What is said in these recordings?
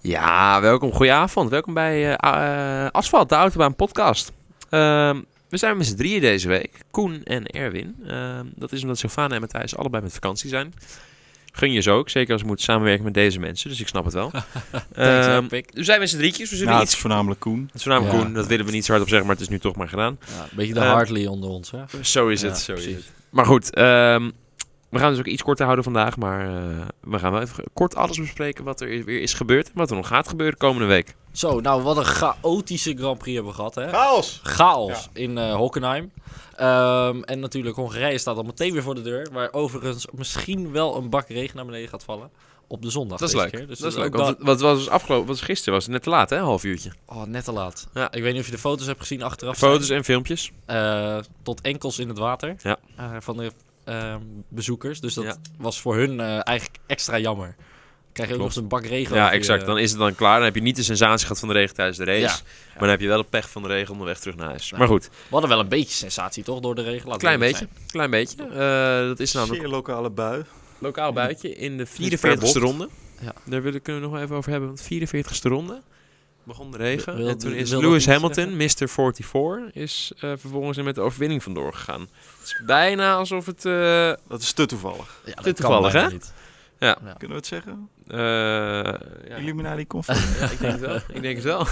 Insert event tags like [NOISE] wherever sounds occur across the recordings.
Ja, welkom. Goedenavond. Welkom bij eh, A- eh, Asfalt, de Autobaan podcast. Ehm, we zijn met z'n drieën deze week. Koen en Erwin. Ehm, dat is omdat Sylvana en Matthijs allebei met vakantie zijn. Gun je ze ook. Zeker als we moeten samenwerken met deze mensen. Dus ik snap het [LAUGHS] wel. Thanks, Ehm, Epic. we zijn met z'n drietjes. We zullen Ja, Nou, het iets... is voornamelijk Koen. Het is voornamelijk Ja. Koen. Dat willen we niet zo hard op zeggen, maar het is nu toch maar gedaan. Ja, een beetje de Eh, Hartley onder ons, hè? Zo is Ja, het. Zo is precies. het. Maar goed, ehm, we gaan dus ook iets korter houden vandaag. Maar eh, we gaan wel even kort alles bespreken wat er weer is gebeurd. En wat er nog gaat gebeuren komende week. Zo, nou, wat een chaotische Grand Prix hebben we gehad, hè? Chaos! Chaos in eh, Hockenheim. Ehm, en natuurlijk, Hongarije staat al meteen weer voor de deur. Waar overigens misschien wel een bak regen naar beneden gaat vallen. Op de zondag. Dat is deze leek. keer. Dus dat is ook leuk. Want dat- het- wat was dus afgelopen, was gisteren was het net te laat, hè? Een half uurtje. Oh, net te laat. Ja. Ik weet niet of je de foto's hebt gezien achteraf. Foto's en filmpjes. eh, tot enkels in het water. Ja. Eh, van de eh, bezoekers. Dus dat Ja. was voor hun eh, eigenlijk extra jammer. Krijg je ook nog Klopt. eens een bak regen. ja, over je- exact. Dan is het dan klaar. Dan heb je niet de sensatie gehad van de regen tijdens de race. Ja. Maar dan heb je wel de pech van de regen onderweg terug naar huis. Ja. Maar goed, We hadden wel een beetje sensatie, toch? Door de regen. Laten we klein eerlijk beetje. Klein beetje. Eh, dat is namelijk Zeer lokale bui. lokaal buitje in de per 44ste bocht. ronde. Ja. Daar willen, kunnen we nog even over hebben. Want 44ste ronde begon de regen. Wil- wil- en toen is wil dat Lewis iets Hamilton, Mr. 44, is eh, vervolgens er met de overwinning vandoor gegaan. Het is bijna alsof het... eh, Dat is te toevallig. zijn. Ja, dat Dit kan toevallig, bijna hè? niet. Kunnen we het zeggen? eh, ja, Illuminati Conference. Ja, ik denk het wel. Ik denk het wel.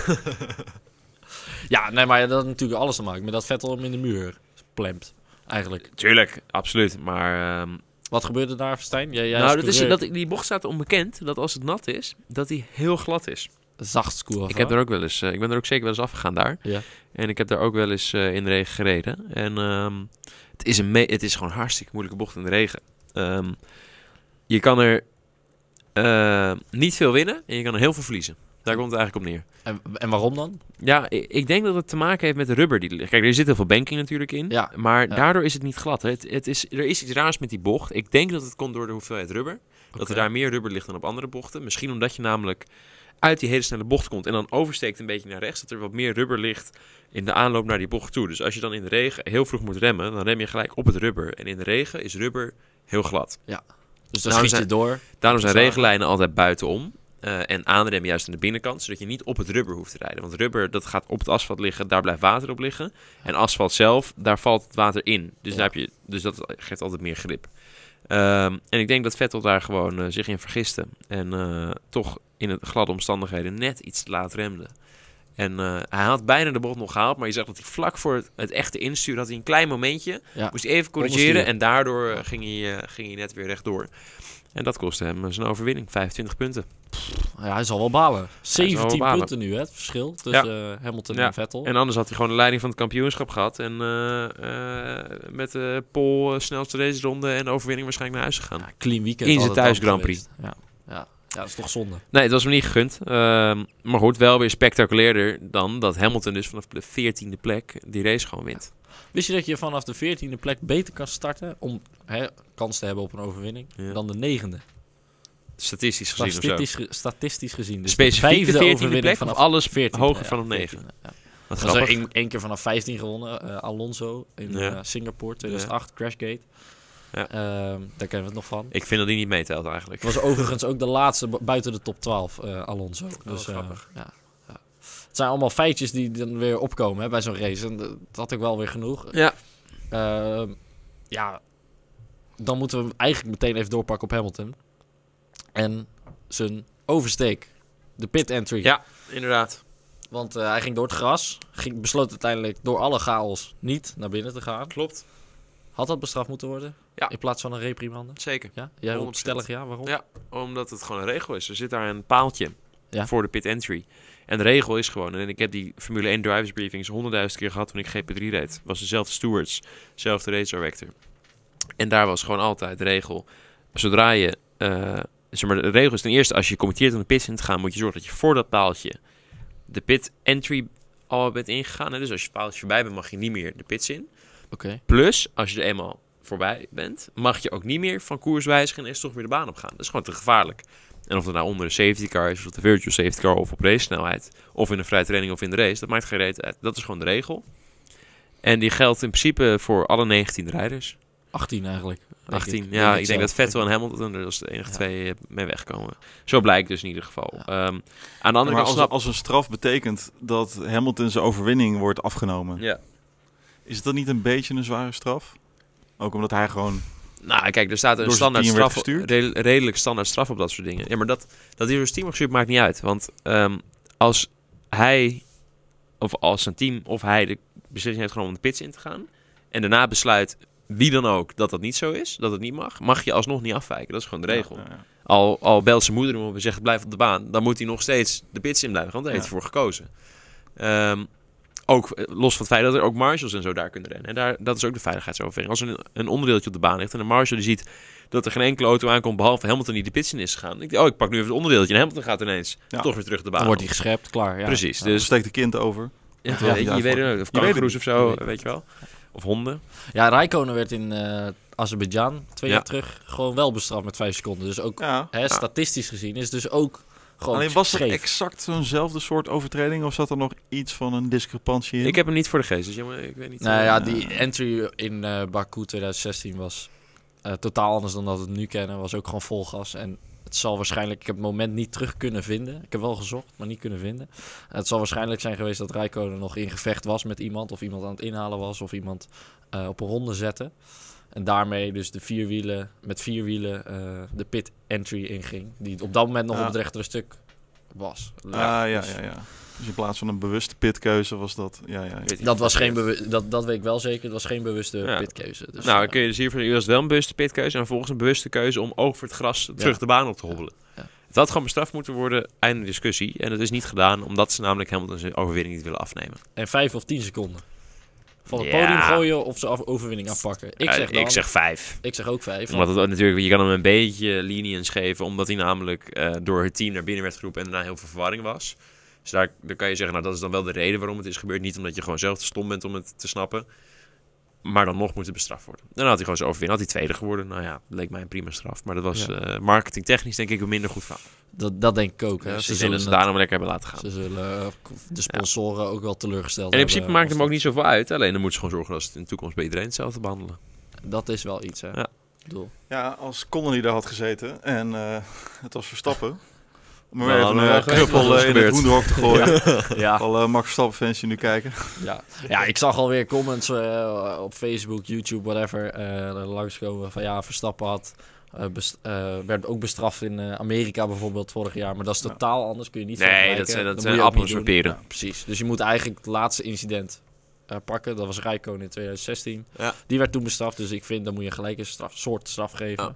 Ja, nee, maar dat had natuurlijk alles te maken met dat Vettel hem in de muur plempt. Eigenlijk. [LAUGHS] Tuurlijk, absoluut. Maar ehm, Wat gebeurde daar, Stijn? Jij, jij nou, als dat is, coureur dat, die bocht staat onbekend dat als het nat is, dat die heel glad is. zacht scoren. Ik, heb er ook wel eens, eh, ik ben er ook zeker wel eens afgegaan daar. Ja. En ik heb daar ook wel eens eh, in de regen gereden. En ehm, het, is een me- het is gewoon een hartstikke moeilijke bocht in de regen. Ehm, je kan er eh, niet veel winnen en je kan er heel veel verliezen. Daar komt het eigenlijk op neer. en, en waarom dan? Ja, i- ik denk dat het te maken heeft met de rubber die er ligt. Kijk, er zit heel veel banking natuurlijk in. Ja, Maar ja. daardoor is het niet glad. hè. Het, het is, er is iets raars met die bocht. Ik denk dat het komt door de hoeveelheid rubber. Dat er Oké. daar meer rubber ligt dan op andere bochten. Misschien omdat je namelijk uit die hele snelle bocht komt en dan oversteekt een beetje naar rechts. Dat er wat meer rubber ligt in de aanloop naar die bocht toe. Dus als je dan in de regen heel vroeg moet remmen, dan rem je gelijk op het rubber. En in de regen is rubber heel glad. Dus dan Nou, schiet zijn- je door. Daarom zijn Zwaar. regenlijnen altijd buitenom. eh, en aanremmen juist aan de binnenkant, zodat je niet op het rubber hoeft te rijden. Want rubber, dat gaat op het asfalt liggen, daar blijft water op liggen. En asfalt zelf, daar valt het water in. Dus, Ja. daar heb je, dus dat geeft altijd meer grip. Ehm, en ik denk dat Vettel daar gewoon eh, zich in vergiste. En eh, toch in het gladde omstandigheden net iets te laat remde. En eh, hij had bijna de bocht nog gehaald, maar je zag dat hij vlak voor het, het echte insturen had hij een klein momentje. Ja. Moest even corrigeren Onderstuur. en daardoor eh, ging hij, eh, ging hij net weer rechtdoor. En dat kostte hem eh, zijn overwinning, 25 punten. Ja, hij zal wel balen. wel 17 balen. punten nu, hè? Het verschil tussen eh, Hamilton Ja. en Vettel. En anders had hij gewoon de leiding van het kampioenschap gehad. En eh, eh, met de Pol eh, snelste raceronde en de overwinning waarschijnlijk naar huis gegaan. Ja, clean weekend. In zijn had het dan thuis Grand Prix. geweest. Ja. Ja. ja, dat is toch zonde. Nee, het was hem niet gegund. Ehm, maar goed, wel weer spectaculairder dan dat Hamilton dus vanaf de 14e plek die race gewoon wint. Wist je dat je vanaf de 14e plek beter kan starten om hè, kans te hebben op een overwinning Ja. dan de negende? Statistisch gezien of zo. Statistisch, ge- statistisch gezien. Dus Specifiek de vijfde 14e overwinning plek vanaf vanaf alles 14e, hoger ja, vanaf 9. 14e, ja. Wat Dan zijn grappig. één, één keer vanaf 15 gewonnen. eh, Alonso in Ja. eh, Singapore 2008, Crashgate. Ja. Ehm, daar kennen we het nog van. Ik vind dat die niet meetelt eigenlijk. Het was overigens ook de laatste bu- buiten de top 12, eh, Alonso. Dus, eh, grappig. ja, ja. Het zijn allemaal feitjes die dan weer opkomen hè, bij zo'n race. En dat dat had ik wel weer genoeg. Ja. Ehm, ja, dan moeten we hem eigenlijk meteen even doorpakken op Hamilton. En zijn oversteek. De pit entry. Ja, inderdaad. Want eh, hij ging door het gras. Ging, besloot uiteindelijk door alle chaos niet naar binnen te gaan. Klopt. Had dat bestraft moeten worden? Ja. In plaats van een reprimande? Zeker. Ja? Jij roept 100%. stellig ja, waarom? Ja. Omdat het gewoon een regel is. Er zit daar een paaltje Ja. voor de pit entry. En de regel is gewoon, en ik heb die Formule 1 drivers briefings honderdduizend keer gehad toen ik GP3 reed. Was dezelfde stewards, dezelfde race director. En daar was gewoon altijd de regel. Zodra je, eh, zeg maar, de regel is ten eerste, als je committeert om de pit in te gaan, moet je zorgen dat je voor dat paaltje de pit entry al bent ingegaan. En dus als je het paaltje voorbij bent, mag je niet meer de pits in. Oké. Plus, als je er eenmaal voorbij bent, mag je ook niet meer van koers wijzigen en is toch weer de baan op gaan. Dat is gewoon te gevaarlijk. En of dat nou onder de safety car is, of de virtual safety car, of op race snelheid, of in een vrije training of in de race, dat maakt geen reet uit. Dat is gewoon de regel. En die geldt in principe voor alle 19 rijders. 18 eigenlijk. denk 18. ik. ja, ik zo. denk dat Vettel en Hamilton er als de enige Ja. twee eh, mee wegkomen. Zo blijkt dus in ieder geval. Ehm, aan de andere maar kant als, snap als een straf betekent dat Hamilton zijn overwinning wordt afgenomen, Ja. is het dan niet een beetje een zware straf? Ook omdat hij gewoon... Nou, kijk, er staat een Door zijn standaard team werd straf, gestuurd? redel- redelijk standaard straf op dat soort dingen. Ja, maar dat, dat hij door zijn team wordt gestuurd maakt niet uit. Want ehm, als hij, of als zijn team, of hij de beslissing heeft genomen om de pits in te gaan... en daarna besluit wie dan ook dat dat niet zo is, dat het niet mag... mag je alsnog niet afwijken. Dat is gewoon de regel. Ja, ja, ja. Al, al belt zijn moeder hem op en zegt blijf op de baan, dan moet hij nog steeds de pits in blijven, want daar heeft Ja. hij voor gekozen. Ehm, ook eh, los van het feit dat er ook marshals en zo daar kunnen rennen. En daar, dat is ook de veiligheidsoverweging. Als er een, een onderdeeltje op de baan ligt en een marshal die ziet dat er geen enkele auto aankomt behalve Hamilton die de pits in is gegaan. dan denkt hij, oh ik pak nu even het onderdeeltje en Hamilton gaat ineens Ja. toch weer terug de baan. Dan wordt hij op. geschept, klaar. Ja. Precies, Dan dus steekt de kind over. ja, Ja, je, ja, je weet het ook. Of je weet het kangaroes of niet. zo, Je weet weet, het je wel. Of honden. Ja, Raikkonen werd in eh Azerbeidzjan twee Ja. jaar terug gewoon wel bestraft met vijf seconden. Dus ook Ja. hè, statistisch gezien is het dus ook gewoon Alleen was het scheef. exact zo'nzelfde soort overtreding of zat er nog iets van een discrepantie in? Ik heb hem niet voor de geest, dus jammer, ik weet niet. Nou ja, eh, die entry in eh Baku 2016 was eh, totaal anders dan dat we het nu kennen. Was ook gewoon vol gas. En het zal waarschijnlijk, ik heb het moment niet terug kunnen vinden. Ik heb wel gezocht, maar niet kunnen vinden. het zal waarschijnlijk zijn geweest dat Rijkonen nog in gevecht was met iemand. Of iemand aan het inhalen was. Of iemand eh, op een ronde zette. En daarmee dus de vierwielen, met vierwielen eh, de pit entry inging. Die op dat moment nog Ja. op het rechtere stuk was. Ah, ja, ja, dus- ja, Dus in plaats van een bewuste pitkeuze was dat... Ja, ja, ja. Weet ik Dat, niet. was geen bewu- dat, dat weet ik wel zeker. Het was geen bewuste Ja. pitkeuze. Dus, nou, eh, kun je dus hiervan, u was wel een bewuste pitkeuze en volgens een bewuste keuze om oog voor het gras terug de baan op te hobbelen. Ja. Het had gewoon bestraft moeten worden, einde discussie. En dat is niet gedaan, omdat ze namelijk Hamilton zijn overwinning niet willen afnemen. En vijf of tien seconden. Van het Ja. podium gooien of ze af- overwinning afpakken. Ik Eh, zeg, dan, ik zeg vijf. ik zeg ook vijf. Omdat het ook natuurlijk, je kan hem een beetje lenience geven, omdat hij namelijk eh, door het team naar binnen werd geroepen en daarna heel veel verwarring was. Dus daar, daar kan je zeggen, nou dat is dan wel de reden waarom het is gebeurd. Niet omdat je gewoon zelf te stom bent om het te snappen. Maar dan nog moet het bestraft worden. Dan had hij gewoon zijn overwinning. Had hij tweede geworden. Nou ja, leek mij een prima straf. Maar dat was Ja. eh, marketingtechnisch denk ik een minder goed verhaal. Dus dat, dat denk ik ook. Hè. Ja, ze ze zullen, zullen ze het- daarom lekker hebben laten gaan. ze zullen eh, de sponsoren ook wel En teleurgesteld in hebben principe maakt als hem ook niet zoveel uit. Alleen dan moet ze gewoon zorgen dat ze het in de toekomst bij iedereen hetzelfde behandelen. dat- Dat is wel iets, hè. Ja. Ik bedoel, Ja, als Connolly daar had gezeten en eh, het was Verstappen. Om maar Dan even hadden een we wel eh, geweten wat knuppel er eh, in gebeurt. het hoenderhok te gooien. ja, Al eh, Max Verstappen fans die nu kijken. ja. ja, ik zag alweer comments eh, op Facebook, YouTube, whatever, eh langskomen van ja, Verstappen had... eh, best- eh, werd ook bestraft in eh, Amerika bijvoorbeeld vorig jaar. Maar dat is Ja. totaal anders. Kun je niet Nee, vergelijken. dat zijn, dat moet zijn je ook niet appels doen. en peren. Precies. Dus je moet eigenlijk het laatste incident eh, pakken. Dat was Rijkoon in 2016. Ja. Die werd toen bestraft. Dus ik vind, dan moet je gelijk een straf, soort straf geven. Ja.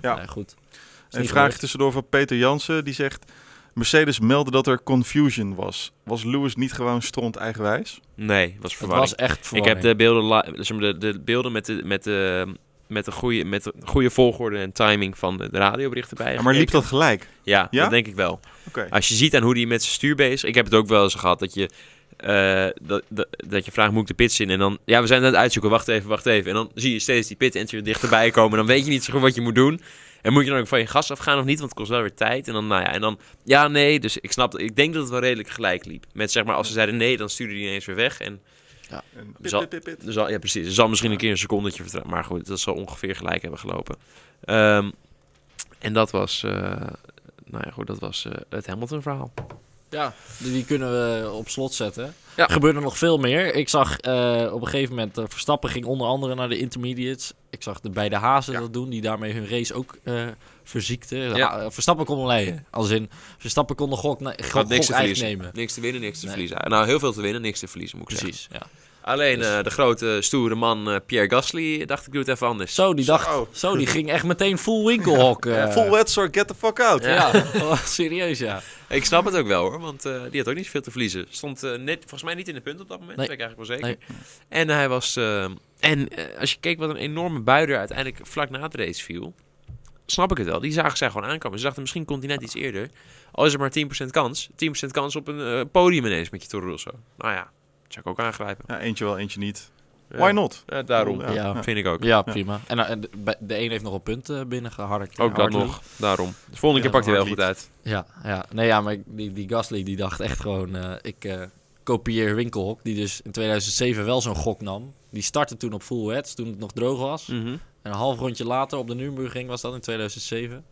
Ja. Nee, goed. Is Een niet vraag gebeurd. tussendoor van Peter Jansen. Die zegt, Mercedes meldde dat er confusion was. Was Lewis niet gewoon stront eigenwijs? Nee, was Het verwarring. was echt ik heb verwarring. de beelden, li- zeg maar, de, de beelden met de, met de, met de, goede, met de goede volgorde en timing van de de radioberichten bij. Ja, maar liep dat gelijk? Ja, Ja? dat denk ik wel. Oké. Als je ziet aan hoe die met zijn stuur bezig... Ik heb het ook wel eens gehad dat je... eh, dat, dat, dat je vraagt, moet ik de pits in? En dan, ja, we zijn het aan het uitzoeken, wacht even, wacht even. En dan zie je steeds die pit entry dichterbij komen. Dan weet je niet zo goed wat je moet doen. En moet je dan ook van je gas afgaan of niet? Want het kost wel weer tijd. En dan, nou ja, en dan, ja, nee. Dus ik snap, ik denk dat het wel redelijk gelijk liep. Met zeg maar, als ze zeiden nee, dan stuurde die ineens weer weg. En En pit, Zal- pit, pit, pit. er zal, ja, precies. Er zal misschien een keer een secondetje vertragen. Maar goed, dat zal ongeveer gelijk hebben gelopen. Ehm, en dat was, eh, nou ja, goed, dat was eh, het Hamilton-verhaal. Ja, die die kunnen we op slot zetten. Ja. Er gebeurde nog veel meer. Ik zag eh, op een gegeven moment... eh, Verstappen ging onder andere naar de intermediates. Ik zag de beide hazen Ja. dat doen. Die daarmee hun race ook eh verziekten. De Ja. ha- eh, Verstappen kon leiden. Als in, Verstappen kon de gok, na- gok, Had niks gok te eigen verliezen. nemen. Niks te winnen, niks te Nee. verliezen. Nou, heel veel te winnen, niks te verliezen, moet ik Precies, ja. zeggen. Alleen Dus- eh, de grote, stoere man eh, Pierre Gasly dacht ik doe het even anders. Zo, die dacht... Zo. Zo, die ging echt meteen full winkelhok. eh. Full wet, sir. Get the fuck out. Ja, [LAUGHS] Oh, serieus ja. Ik snap het ook wel hoor, want eh, die had ook niet zoveel te verliezen. Stond eh, net, volgens mij niet in de punt op dat moment, Nee. dat weet ik eigenlijk wel zeker. En hij was... eh, en eh, als je keek wat een enorme bui er uiteindelijk vlak na de race viel... Snap ik het wel. Die zagen zij gewoon aankomen. Ze dachten, misschien komt hij net iets eerder. Al is er maar 10% kans. 10% kans op een eh, podium ineens met je Toro Rosso. Nou ja, dat zou ik ook aangrijpen. Ja, eentje wel, eentje niet. Why not? Ja, daarom. Ja. Ja, Vind ik ook. ja prima. En, eh, en de, bij- de een heeft nog een punt eh, binnengeharkt. Ook Ja, dat hard nog, daarom. De volgende keer Ja, pakt hij wel hard goed uit. Ja, ja. Nee, ja, maar ik- die, die Gasly die dacht echt gewoon... eh, ik eh, kopieer Hm. Mhm. Winkelhok, die dus in 2007 wel zo'n gok nam. Die startte toen op full heads, toen het nog droog was. En een half rondje later op de Nürburgring was dat in 2007.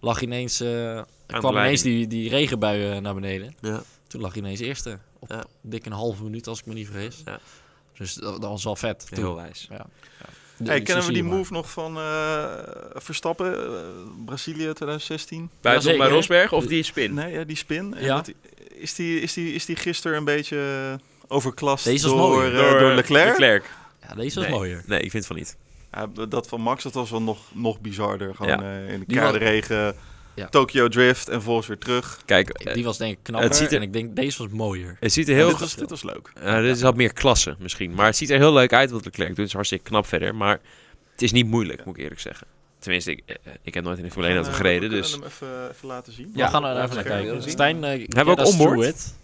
Lag ineens, eh, de er kwam ineens leiding. die, die regenbui eh, naar beneden. Ja. Toen lag hij ineens eerste. Op Ja. dik een halve minuut, als ik me niet vergis. Ja. Dus dat, dat was wel vet. Toen. Heel wijs. Hey, kennen we die move? move nog van eh, Verstappen, eh, Brazilië 2016? Buiten bij Jazeker. Rosberg of die spin? Nee, ja, die spin. En Ja. dat- Is, die, is, die, is die gisteren een beetje eh, overklast Deze was door, mooi. eh, door, Leclerc? Ja, deze was Nee. mooier. Nee, ik vind van niet. Ja, d- dat van Max, dat was wel nog, nog bizarder. Gewoon Ja. eh, in de Die was- koude regen, Ja. Tokyo Drift en volgens weer terug. Kijk, eh, Die was denk ik knapper. het ziet er- En ik denk, deze was mooier. het ziet er Heel heel... dit, was, dit was leuk. Eh, dit is wat meer klasse misschien. Maar het ziet er heel leuk uit wat Leclerc doet. Het is hartstikke knap verder. Maar het is niet moeilijk, moet ik eerlijk zeggen. Tenminste, ik, eh, ik heb nooit in de Formule 1 Eh, auto we gereden. kunnen Dus hem even, eh, even laten zien. we gaan er even naar Scherm willen kijken. zien. Stijn, eh we ook onboard?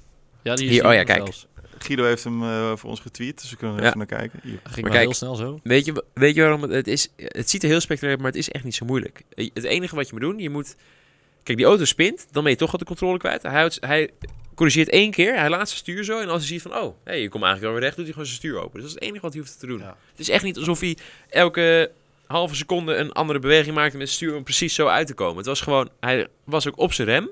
Ja, die is Hier, oh ja, kijk. zelfs. Guido heeft hem eh, voor ons getweet, dus we kunnen er Ja. even naar kijken. Hier. Ging Maar maar kijk. heel snel zo. weet je, weet je waarom het, het is? Het ziet er heel spectaculair uit, maar het is echt niet zo moeilijk. Eh, Het enige wat je moet doen, je moet... Kijk, die auto spint, dan ben je toch al de controle kwijt. Hij, houdt- hij corrigeert één keer, hij laat zijn stuur zo. En als hij ziet van, oh, hey, je komt eigenlijk wel weer recht, doet hij gewoon zijn stuur open. Dus dat is het enige wat hij hoeft te doen. Ja. Het is echt niet alsof hij elke halve seconde een andere beweging maakte met het stuur om precies zo uit te komen. Het was gewoon, hij was ook op zijn rem.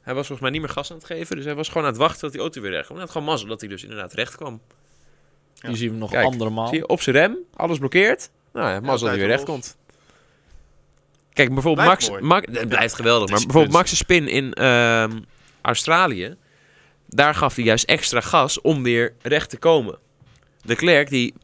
Hij was volgens mij niet meer gas aan het geven, dus hij was gewoon aan het wachten tot die auto weer recht kwam. Hij had gewoon mazzel dat hij dus inderdaad recht kwam. Ja. Hier zien we hem nog Kijk, andere maal. Zie je, op zijn rem, alles blokkeerd. Nou ja, mazzel dat hij tijd weer recht los. komt. Kijk, bijvoorbeeld Blijft Max, mooi. Max... Het blijft geweldig, Het maar is bijvoorbeeld Max' spin in ehm, Australië... Daar gaf hij juist extra gas om weer recht te komen. De Klerk die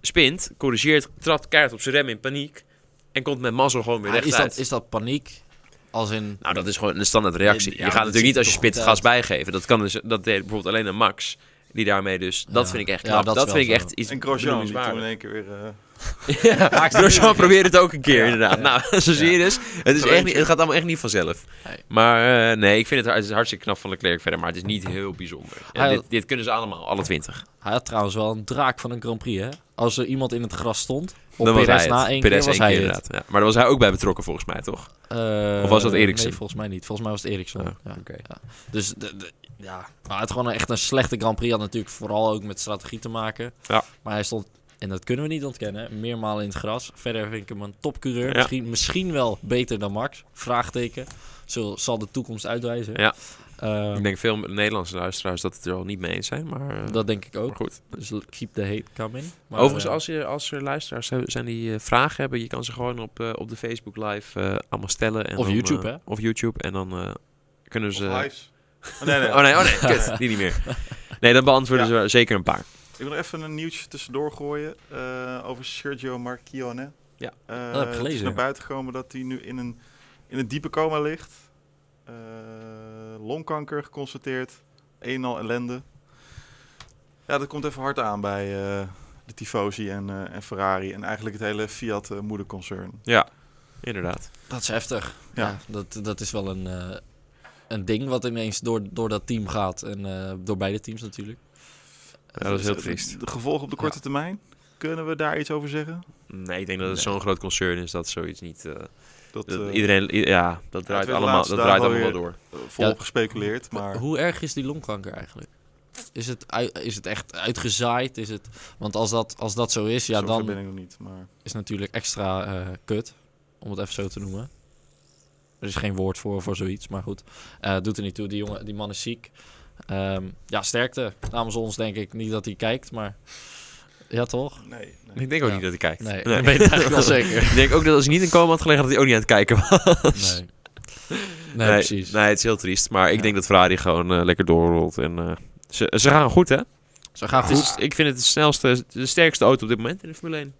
spint, corrigeert, trapt kaart op zijn rem in paniek... en komt met mazzel gewoon weer Maar recht Ah, is, uit. dat, is dat paniek? Als in... Nou, dat is gewoon een standaard reactie. Ja, je maar gaat dat natuurlijk niet als ziet je er spint toch gas goed bijgeven. Dat, kan dus, dat deed bijvoorbeeld alleen een Max... Die daarmee dus, dat Ja. vind ik echt Ja, knap. dat dat is wel vind ik zo. echt iets En Grosjean, die toen benoemenswaardig. in één keer weer... eh, Ja, [LAUGHS] Grosjean probeert het ook een keer, inderdaad. Nou, zo zie je dus. Het, is Zo echt eentje. niet, het gaat allemaal echt niet vanzelf. Nee. Maar eh, nee, ik vind het, het is hartstikke knap van Leclerc verder. Maar het is niet heel bijzonder. Ja, Hij- dit, dit kunnen ze allemaal, alle twintig. Hij had trouwens wel een draak van een Grand Prix, hè? Als er iemand in het gras stond, op Dan was hij Perez het. na één Perez keer, was hij het. inderdaad. Ja. Maar daar was hij ook bij betrokken, volgens mij, toch? Eh, Of was dat Eriksen? Nee, volgens mij niet. Volgens mij was het Eriksen. Oh, ja. oké. Ja. Dus de, de- ja, maar het gewoon een- echt een slechte Grand Prix had natuurlijk vooral ook met strategie te maken. Ja. Maar hij stond, en dat kunnen we niet ontkennen, meermalen in het gras. Verder vind ik hem een topcoureur. Ja. Misschien, misschien wel beter dan Max. Vraagteken. Zo zal de toekomst uitwijzen. Ja. Eh, ik denk veel Nederlandse luisteraars dat het er al niet mee eens zijn. Maar, eh, dat denk ik ook. maar goed. Dus keep the hate coming. Maar, Overigens, eh, als, je, als er luisteraars zijn- zijn die eh, vragen hebben... je kan ze gewoon op, eh, op de Facebook Live eh, allemaal stellen. En Of dan, YouTube, eh, hè? Of YouTube. En dan eh, kunnen of ze... Hives. Oh, nee, nee. Oh nee, oh nee, [LAUGHS] kut, die niet meer. Nee, dan beantwoorden Ja. ze zeker een paar. Ik wil nog even een nieuwtje tussendoor gooien eh, over Sergio Marchionne. Ja, Eh, heb ik Het is gelezen. naar buiten gekomen dat hij nu in een, in een diepe coma ligt. Eh, longkanker geconstateerd. Een en al ellende. Ja, dat komt even hard aan bij eh, de Tifosi en, eh, en Ferrari. En eigenlijk het hele Fiat eh, moederconcern. Ja, inderdaad. Dat is heftig. Ja. Ja. dat, dat is wel een, eh, een ding wat ineens door, door dat team gaat. En eh, door beide teams natuurlijk. Ja, dat is heel Dus, eh, triest. De gevolgen op de korte termijn. Kunnen we daar iets over zeggen? Nee, ik denk dat het Nee. zo'n groot concern is dat zoiets niet... eh, Dat, dat eh, iedereen, i- ja, dat draait werd de allemaal, laatste dat draait dagen allemaal wel alweer. door. eh, volop gespeculeerd, maar... Hoe erg is die longkanker eigenlijk? Is het, ui- is het echt uitgezaaid? Is het, want als dat, als dat zo is, ja, zover dan ben ik nog niet, maar... is natuurlijk extra eh, kut. Om het even zo te noemen. Er is geen woord voor, voor zoiets, maar goed. Eh, doet er niet toe, die, jongen, die man is ziek. Ehm, ja, sterkte. Namens ons denk ik niet dat hij kijkt, maar... Ja, [LAUGHS] toch? Nee, nee. Ik denk ook Ja. niet dat hij kijkt. Nee, dat weet ik eigenlijk [LAUGHS] wel zeker. ik denk ook dat als hij niet in coma had gelegen, dat hij ook niet aan het kijken was. [LAUGHS] Nee. Nee, precies. Nee, het is heel triest. Maar ik Ja. denk dat Ferrari gewoon eh, lekker doorrolt. En, eh, ze, ze gaan goed, hè? Ze gaan Het goed. is, ik vind het de snelste, de sterkste auto op dit moment in de Formule 1.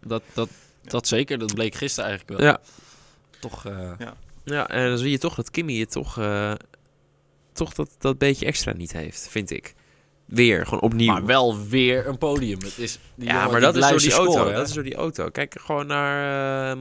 Dat, dat, dat zeker. Dat bleek gisteren eigenlijk wel. Ja, Toch, eh, ja en dan zie je toch dat Kimi het toch, eh, toch dat, dat beetje extra niet heeft, vind ik. Weer, gewoon opnieuw. maar wel weer een podium. Het is, die Ja, jongen, maar dat is door blijft die scoren, auto. hè? Dat is door die auto. Kijk gewoon naar ehm,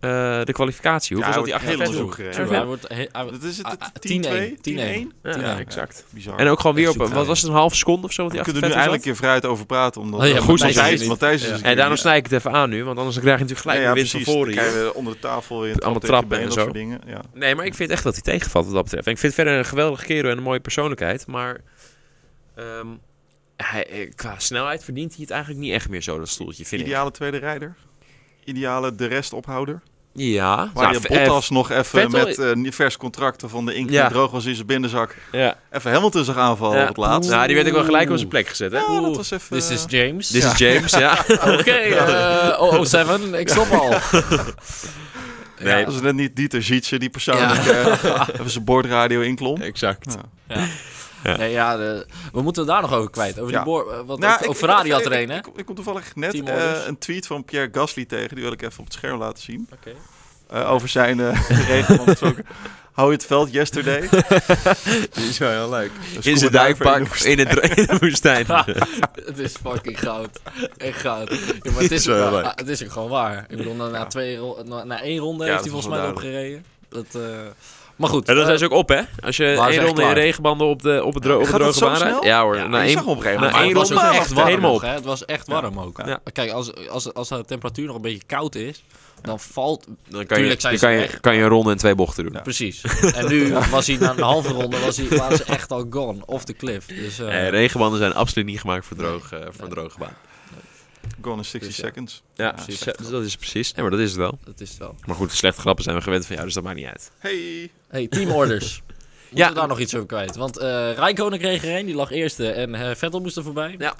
eh, de kwalificatie. Hoeveel Ja, zat hij hij achter wordt Vettel? helemaal zoek Tuurlijk, Ja. hij wordt, he- hij wordt- Dat is het, Ah, ah, 10-2? 10-1. 10-1? Ja, Ja, exact. Bizar. En ook gewoon weer Echt op, zoek wat aan. was het, een halve seconde of zo? Wat we hij kunnen achter nu Vettel eigenlijk zat? een keer vrijuit over praten. Omdat Oh ja, Want Matthijs Matthijs, is er niet. Matthijs, is er Ja. een En keer daarom niet. snij ik het even aan nu, want anders krijg je natuurlijk gelijk Ja, weer ja, winst precies. van Dan voren. krijg hier. je onder de tafel weer Allemaal trap tegen je trappen en been of zo. soort dingen. Ja. Nee, maar ik vind echt dat hij tegenvalt wat dat betreft. En ik vind verder een geweldige kerel en een mooie persoonlijkheid. Maar ehm, hij, qua snelheid verdient hij het eigenlijk niet echt meer zo, dat stoeltje, vind Ideale tweede rijder. Ideale de rest ophouder. ik. Ja. Waar je Nou, eh, Bottas nog even Vettel- met eh vers contracten van de inkt Ja. die droog was in zijn binnenzak. ja. Even Hamilton zag aanvallen Ja. op het laatst. Nou, die werd ook wel gelijk op zijn plek gezet, hè? Ja, dat Oeh. was even... This is James. This is James, ja. [LAUGHS] Oké, eh 007, ik stop [LAUGHS] al. Nee. Dat is net niet Dieter Zietse die persoonlijk eh, [LAUGHS] even zijn bordradio inklom. [LAUGHS] exact. Ja. Nee, ja, de- we moeten het daar nog over kwijt. Over Ja. die boor, eh, wat Nou, ook, ik- ook Ferrari ik- had er ik- een, hè? Ik, ik, kom toevallig net Team eh, orders. een tweet van Pierre Gasly tegen. Die wil ik even op het scherm laten zien. Oké. Eh, over zijn eh, [LAUGHS] regen van gesproken. Hou het [LAUGHS] veld yesterday. Die is wel heel leuk. Dus In zijn Koeman Duiver in de duikpak in het- in de woestijn. [LAUGHS] [LAUGHS] het is fucking goud. Echt goud. Ja, maar het, is Zo ook, wel- leuk. ah, het is ook gewoon waar. Ik bedoel, na, na, Ja. twee, ro- na, na één ronde Ja, heeft hij dat is volgens mij wel opgereden. Dat, eh, maar goed. En dan eh, zijn ze ook op, hè? Als je waren ze één echt ronde in klaar. regenbanden op de, op het dro- op de Gaat dat droge zo baan rijdt. snel? Ja hoor, na ik één, zag hem op een gegeven na moment. maar één het was ronde ook echt echt warm helemaal nog, op. hè? Het was echt Ja. warm ook. Ja. Maar Kijk, als, als, als de temperatuur nog een beetje koud is, dan valt... Dan kan je, Tuurlijk zijn dan ze kan je, weg. kan je een ronde en twee bochten doen. Ja. Precies. En nu was hij na een halve ronde was hij, waren ze echt al gone. Off the cliff. Dus, eh, Eh, regenbanden zijn absoluut niet gemaakt voor, droog, eh, voor een droge baan. Gone in 60 Dus ja. seconds. Ja, Ja, precies. slecht Ja, grap. dat is precies. Nee, maar dat is het wel. dat is het wel. Maar goed, de slechte grappen zijn we gewend van jou, dus dat maakt niet uit. Hey. Hey, [LAUGHS] teamorders. Moeten Ja. we daar nog iets over kwijt? Want eh Rijkonen kreeg er een, die lag eerste. En eh, Vettel moest er voorbij. Ja.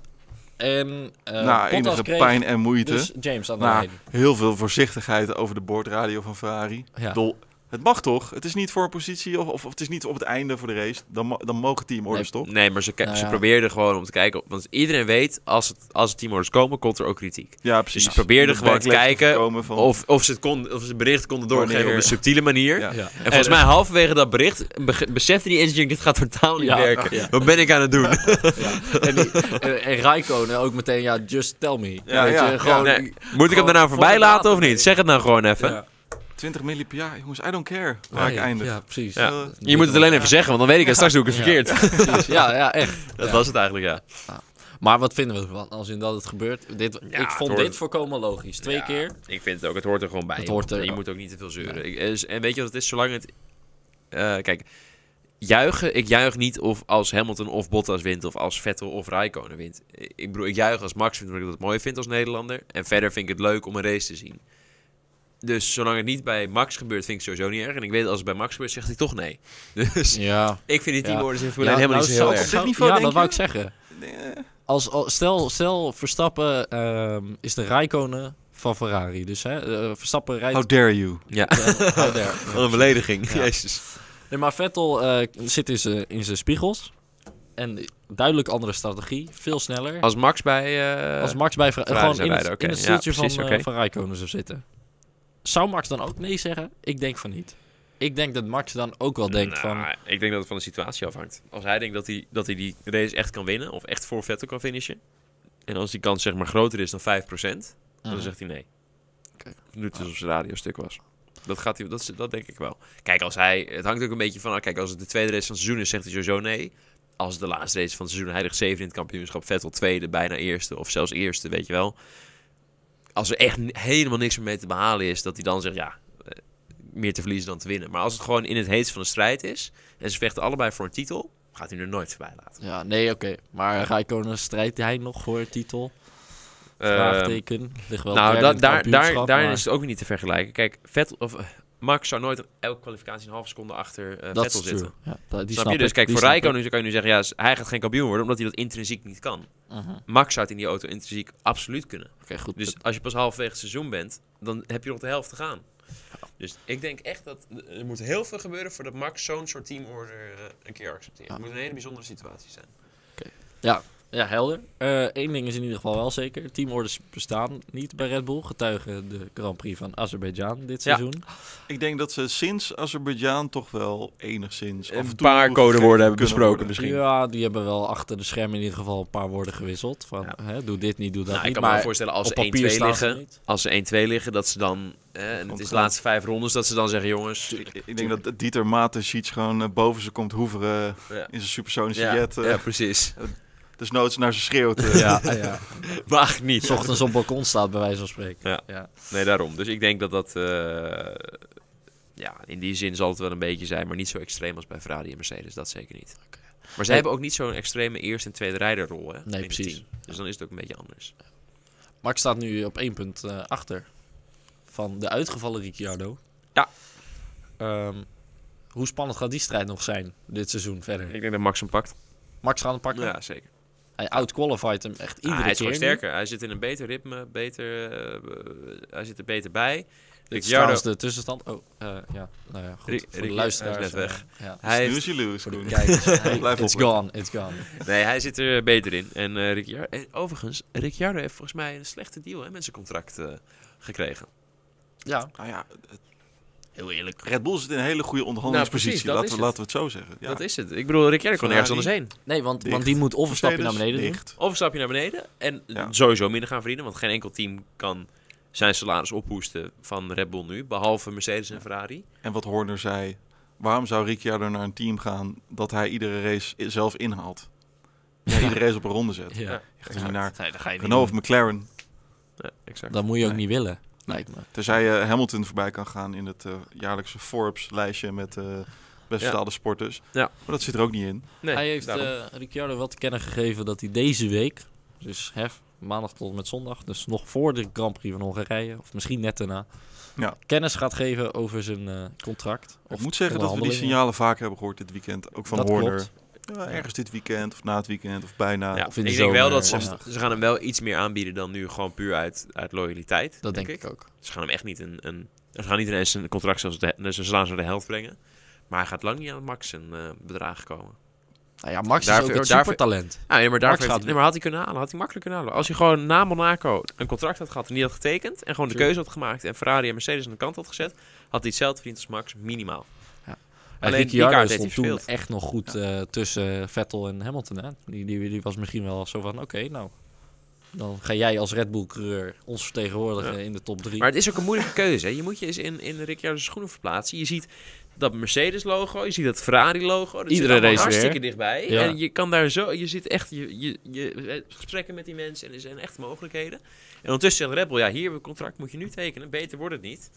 En eh Na Bottas Nou, enige kreeg pijn en moeite. dus James aan de Nou, lijn. Heel veel voorzichtigheid over de bordradio van Ferrari. Ik Ja. bedoel, het mag toch? Het is niet voor een positie of, of, of het is niet op het einde voor de race. Dan, mo- dan mogen teamorders toch? Nee, maar ze, ki- Nou ze ja. probeerden gewoon om te kijken. Want iedereen weet, als het, als het teamorders komen, komt er ook kritiek. Ja, Dus precies. ze probeerden Om de gewoon te backlash kijken voorkomen van- Of, of, ze het kon, of ze het bericht konden doorgeven Wanneer- op een subtiele manier. Ja. Ja. dus- En volgens mij halverwege dat bericht beg- besefte die engineer, dit gaat totaal niet Ja. werken. Ja. Wat ben ik aan het doen? Ja. En, die- eh, en, en Räikkönen ook meteen, ja, just tell me. Ja, Weet ja, je, ja. gewoon... Nee, Moet ik hem Gewoon daarna voor voorbij de laten data of niet? mee. Zeg het nou gewoon even. Ja. 20 milli per jaar, jongens, I don't care waar Nee, ik eindig. Ja, precies. Ja. Eh, Je moet het alleen even zeggen, want dan weet ik en straks doe ik het Ja. verkeerd. Precies. Ja, ja, echt. Dat Ja. was het eigenlijk, ja. Maar wat vinden we ervan als inderdaad het gebeurt? Dit, het ik vond hoort- dit voorkomen logisch. Twee Ja, keer. Ik vind het ook, het hoort er gewoon bij. Het Je hoort moet- er- Je moet ook niet te veel zeuren. Ik- eh, is- en weet je wat het is? Zolang het. eh, kijk, juichen. Ik juich niet of als Hamilton of Bottas wint. Of als Vettel of Raikkonen wint. Ik ik bedoel, ik juich als Max wint. Omdat ik dat mooi vind als Nederlander. En verder vind ik het leuk om een race te zien. Dus zolang het niet bij Max gebeurt, vind ik het sowieso niet erg. En ik weet als het bij Max gebeurt, zegt hij toch nee. [LAUGHS] Dus Ja. ik vind die Ja. teamorders in Formule 1 helemaal niet zo heel zou- erg. Op zou- dit niveau, ja, denk dat wou je? ik zeggen. eh, Als, als- stel, stel Verstappen ehm, is de Rijkonen van Ferrari. Dus hè, eh, Verstappen rijdt... How dare you? Ja, [LAUGHS] eh, how dare. wat een belediging. Ja. Jezus. Nee, maar Vettel eh, zit in zijn- in zijn spiegels. En duidelijk andere strategie. Veel sneller. Als, Als Max bij. Oh, eh, Max Ferrari bij Ferrari... gewoon zou in het, rijden, oké. in het Ja, stoeltje precies, van, eh, oké. van Rijkonen zou zitten. Zou Max dan ook nee zeggen? Ik denk van niet. Ik denk dat Max dan ook wel denkt Nou, van... Ik denk dat het van de situatie afhangt. Als hij denkt dat hij, dat hij die race echt kan winnen, of echt voor Vettel kan finishen. En als die kans zeg maar groter is dan 5%, dan zegt hij nee. Mhm. Oké. Nu het dus op zijn radio stuk was. Dat, gaat hij, dat, is- dat denk ik wel. Kijk, als hij, het hangt ook een beetje van, ah, kijk, als het de tweede race van het seizoen is, zegt hij sowieso nee. Als het de laatste race van het seizoen, hij ligt zeven in het kampioenschap, Vettel tweede, bijna eerste, of zelfs eerste, weet je wel. Als er echt n- helemaal niks meer mee te behalen is, dat hij dan zegt, ja, eh, meer te verliezen dan te winnen. Maar als het gewoon in het heetst van de strijd is, en ze vechten allebei voor een titel, gaat hij er nooit voorbij laten. Ja, nee, oké. Maar Rijkonen strijdt hij nog voor het titel? Ehm, Vraagteken. Ligt wel nou, derde da- in het daar, daar, kampioenschap, daarin maar is het ook weer niet te vergelijken. Kijk, Vettel, of, eh, Max zou nooit elke kwalificatie een halve seconde achter eh, dat Vettel is true. zitten. Ja, da- die snap, je? ik, Dus kijk, die voor snap ik. Rijkoon kan je nu zeggen, ja, s- hij gaat geen kampioen worden, omdat hij dat intrinsiek niet kan. Mhm. Oké, Max zou het in die auto intrinsiek absoluut kunnen. goed. Dus als je pas halverwege het seizoen bent, dan heb je nog de helft te gaan. Dus ik denk echt dat er moet heel veel gebeuren voordat Max zo'n soort teamorder eh, een keer accepteert. Ja. Nou, Het moet een hele bijzondere situatie zijn. ja, helder. Eén ding is in ieder geval wel zeker. Teamorders bestaan niet bij Red Bull. Getuigen de Grand Prix van Azerbeidzjan dit Ja. seizoen. Ik denk dat ze sinds Azerbeidzjan toch wel enigszins... af en Een toe paar codewoorden hebben kunnen besproken worden. misschien. Ja, die hebben wel achter de schermen in ieder geval een paar woorden gewisseld. Van, hè, doe dit niet, doe dat Nou, ik niet. kan me wel Maar voorstellen als op ze 1-2 papier staan ze liggen, niet. als ze 1-2 liggen, dat ze dan, eh, en het is de Ontgaan. laatste vijf rondes, dat ze dan zeggen, jongens, Ik, ik denk dat Dieter Mateschitz gewoon eh, boven ze komt hoeveren Ja. in zijn supersonische ja, jet. eh, ja, precies. Desnoods naar ze schreeuwt. [LAUGHS] eh. Ja, ja. Mag niet. S ochtends op balkon staat, bij wijze van spreken. Ja. Nee, daarom. Dus ik denk dat dat. eh, ja, in die zin zal het wel een beetje zijn, maar niet zo extreem als bij Ferrari en Mercedes. Dat zeker niet. Oké. Maar zij hebben ook niet zo'n extreme eerste en tweede rijderrol. Hè, in het precies. team. Dus dan is het ook een beetje anders. Max staat nu op één punt eh, achter van de uitgevallen Ricciardo. Ja. Ehm, hoe spannend gaat die strijd nog zijn dit seizoen verder? Ik denk dat Max hem pakt. Max gaat hem pakken. Ja, zeker. Hij outqualified hem echt iedere Ah, hij is keer. gewoon nu. sterker. Hij zit in een beter ritme, beter, eh, eh, hij zit er beter bij. Dit is Ricciardo- trouwens de tussenstand. Oh, eh, ja. Nou ja, goed. Ri- voor de Ricci- luisteraars. hij is net eh, ja. Hij heeft- Snooze je lose, Voor de Koen. [LAUGHS] kijkers. Hey, Blijf it's opletten. gone, it's gone. nee, hij zit er beter in. En eh Ricciardo, en overigens, Ricciardo heeft volgens mij een slechte deal hè, met zijn contract eh, gekregen. Ja, Nou ja, Heel eerlijk. Red Bull zit in een hele goede onderhandelingspositie. Nou, precies, dat laten, is het. we, laten we het zo zeggen. Ja. Dat is het. Ik bedoel, Ricciardo kon Ferrari. nergens anders heen. nee, want, Dicht. want die moet of een stapje naar Mercedes, beneden doen. dicht. Of een stapje naar beneden en Ja. sowieso minder gaan verdienen. Want geen enkel team kan zijn salaris ophoesten van Red Bull nu. Behalve Mercedes en Ferrari. En wat Horner zei, waarom zou Ricciardo naar een team gaan dat hij iedere race i- zelf inhaalt? Ja, [LAUGHS] iedere race op een ronde zet. Ja. Je gaat niet naar Nee, dat ga je niet Renault of doen. McLaren. Ja, exact. Dat moet je ook Nee. niet willen, lijkt me. Terzij je eh, Hamilton voorbij kan gaan in het eh, jaarlijkse Forbes-lijstje met eh best Ja. betaalde sporters. Ja. Maar dat zit er ook niet in. Nee, hij heeft daarom. eh, Ricciardo wel te kennen gegeven dat hij deze week, dus hef, maandag tot en met zondag, dus nog voor de Grand Prix van Hongarije, of misschien net daarna, Ja. kennis gaat geven over zijn eh, contract. Of ik moet zeggen dat we die onderhandelingen. signalen vaak hebben gehoord dit weekend. Ook van Dat Horner. klopt. Ja, ergens dit weekend of na het weekend of bijna. Ja, of in ik de denk wel zomer eh, dat ze, lastig. ze gaan hem wel iets meer aanbieden dan nu, gewoon puur uit, uit loyaliteit. Dat denk ik ook. Ze gaan hem echt niet een, een ze gaan niet ineens een contract zelfs de, dus ze slaan ze de helft brengen. Maar hij gaat lang niet aan het max een eh, bedrag komen. Nou ja, Max Daarvoor- is ook een daarvoor- supertalent. Ah, nee, maar, daarvoor Max heeft, gaat hij- nee, maar had hij kunnen halen, had hij makkelijk kunnen halen. Als hij gewoon na Monaco een contract had gehad en niet had getekend en gewoon de True. keuze had gemaakt en Ferrari en Mercedes aan de kant had gezet, had hij hetzelfde verdiend als Max minimaal. Alleen Alleen die Ricciardo kaart heeft hij stond toen verspeeld. echt nog goed eh, tussen Vettel en Hamilton. Hè? Die, die, die was misschien wel zo van, oké, nou, dan ga jij als Red Bull-coureur ons vertegenwoordigen in de top 3. Maar het is ook een moeilijke keuze. Hè. Je moet je eens in, in Ricciardo's schoenen verplaatsen. Je ziet dat Mercedes-logo, je ziet dat Ferrari-logo. Dat zit Iedere allemaal race weer. hartstikke dichtbij. Ja. En je kan daar zo... Je zit echt... Je, je, je gesprekken met die mensen en er zijn echt mogelijkheden. En ondertussen zegt Red Bull, ja, hier hebben we een contract, moet je nu tekenen. Beter wordt het niet.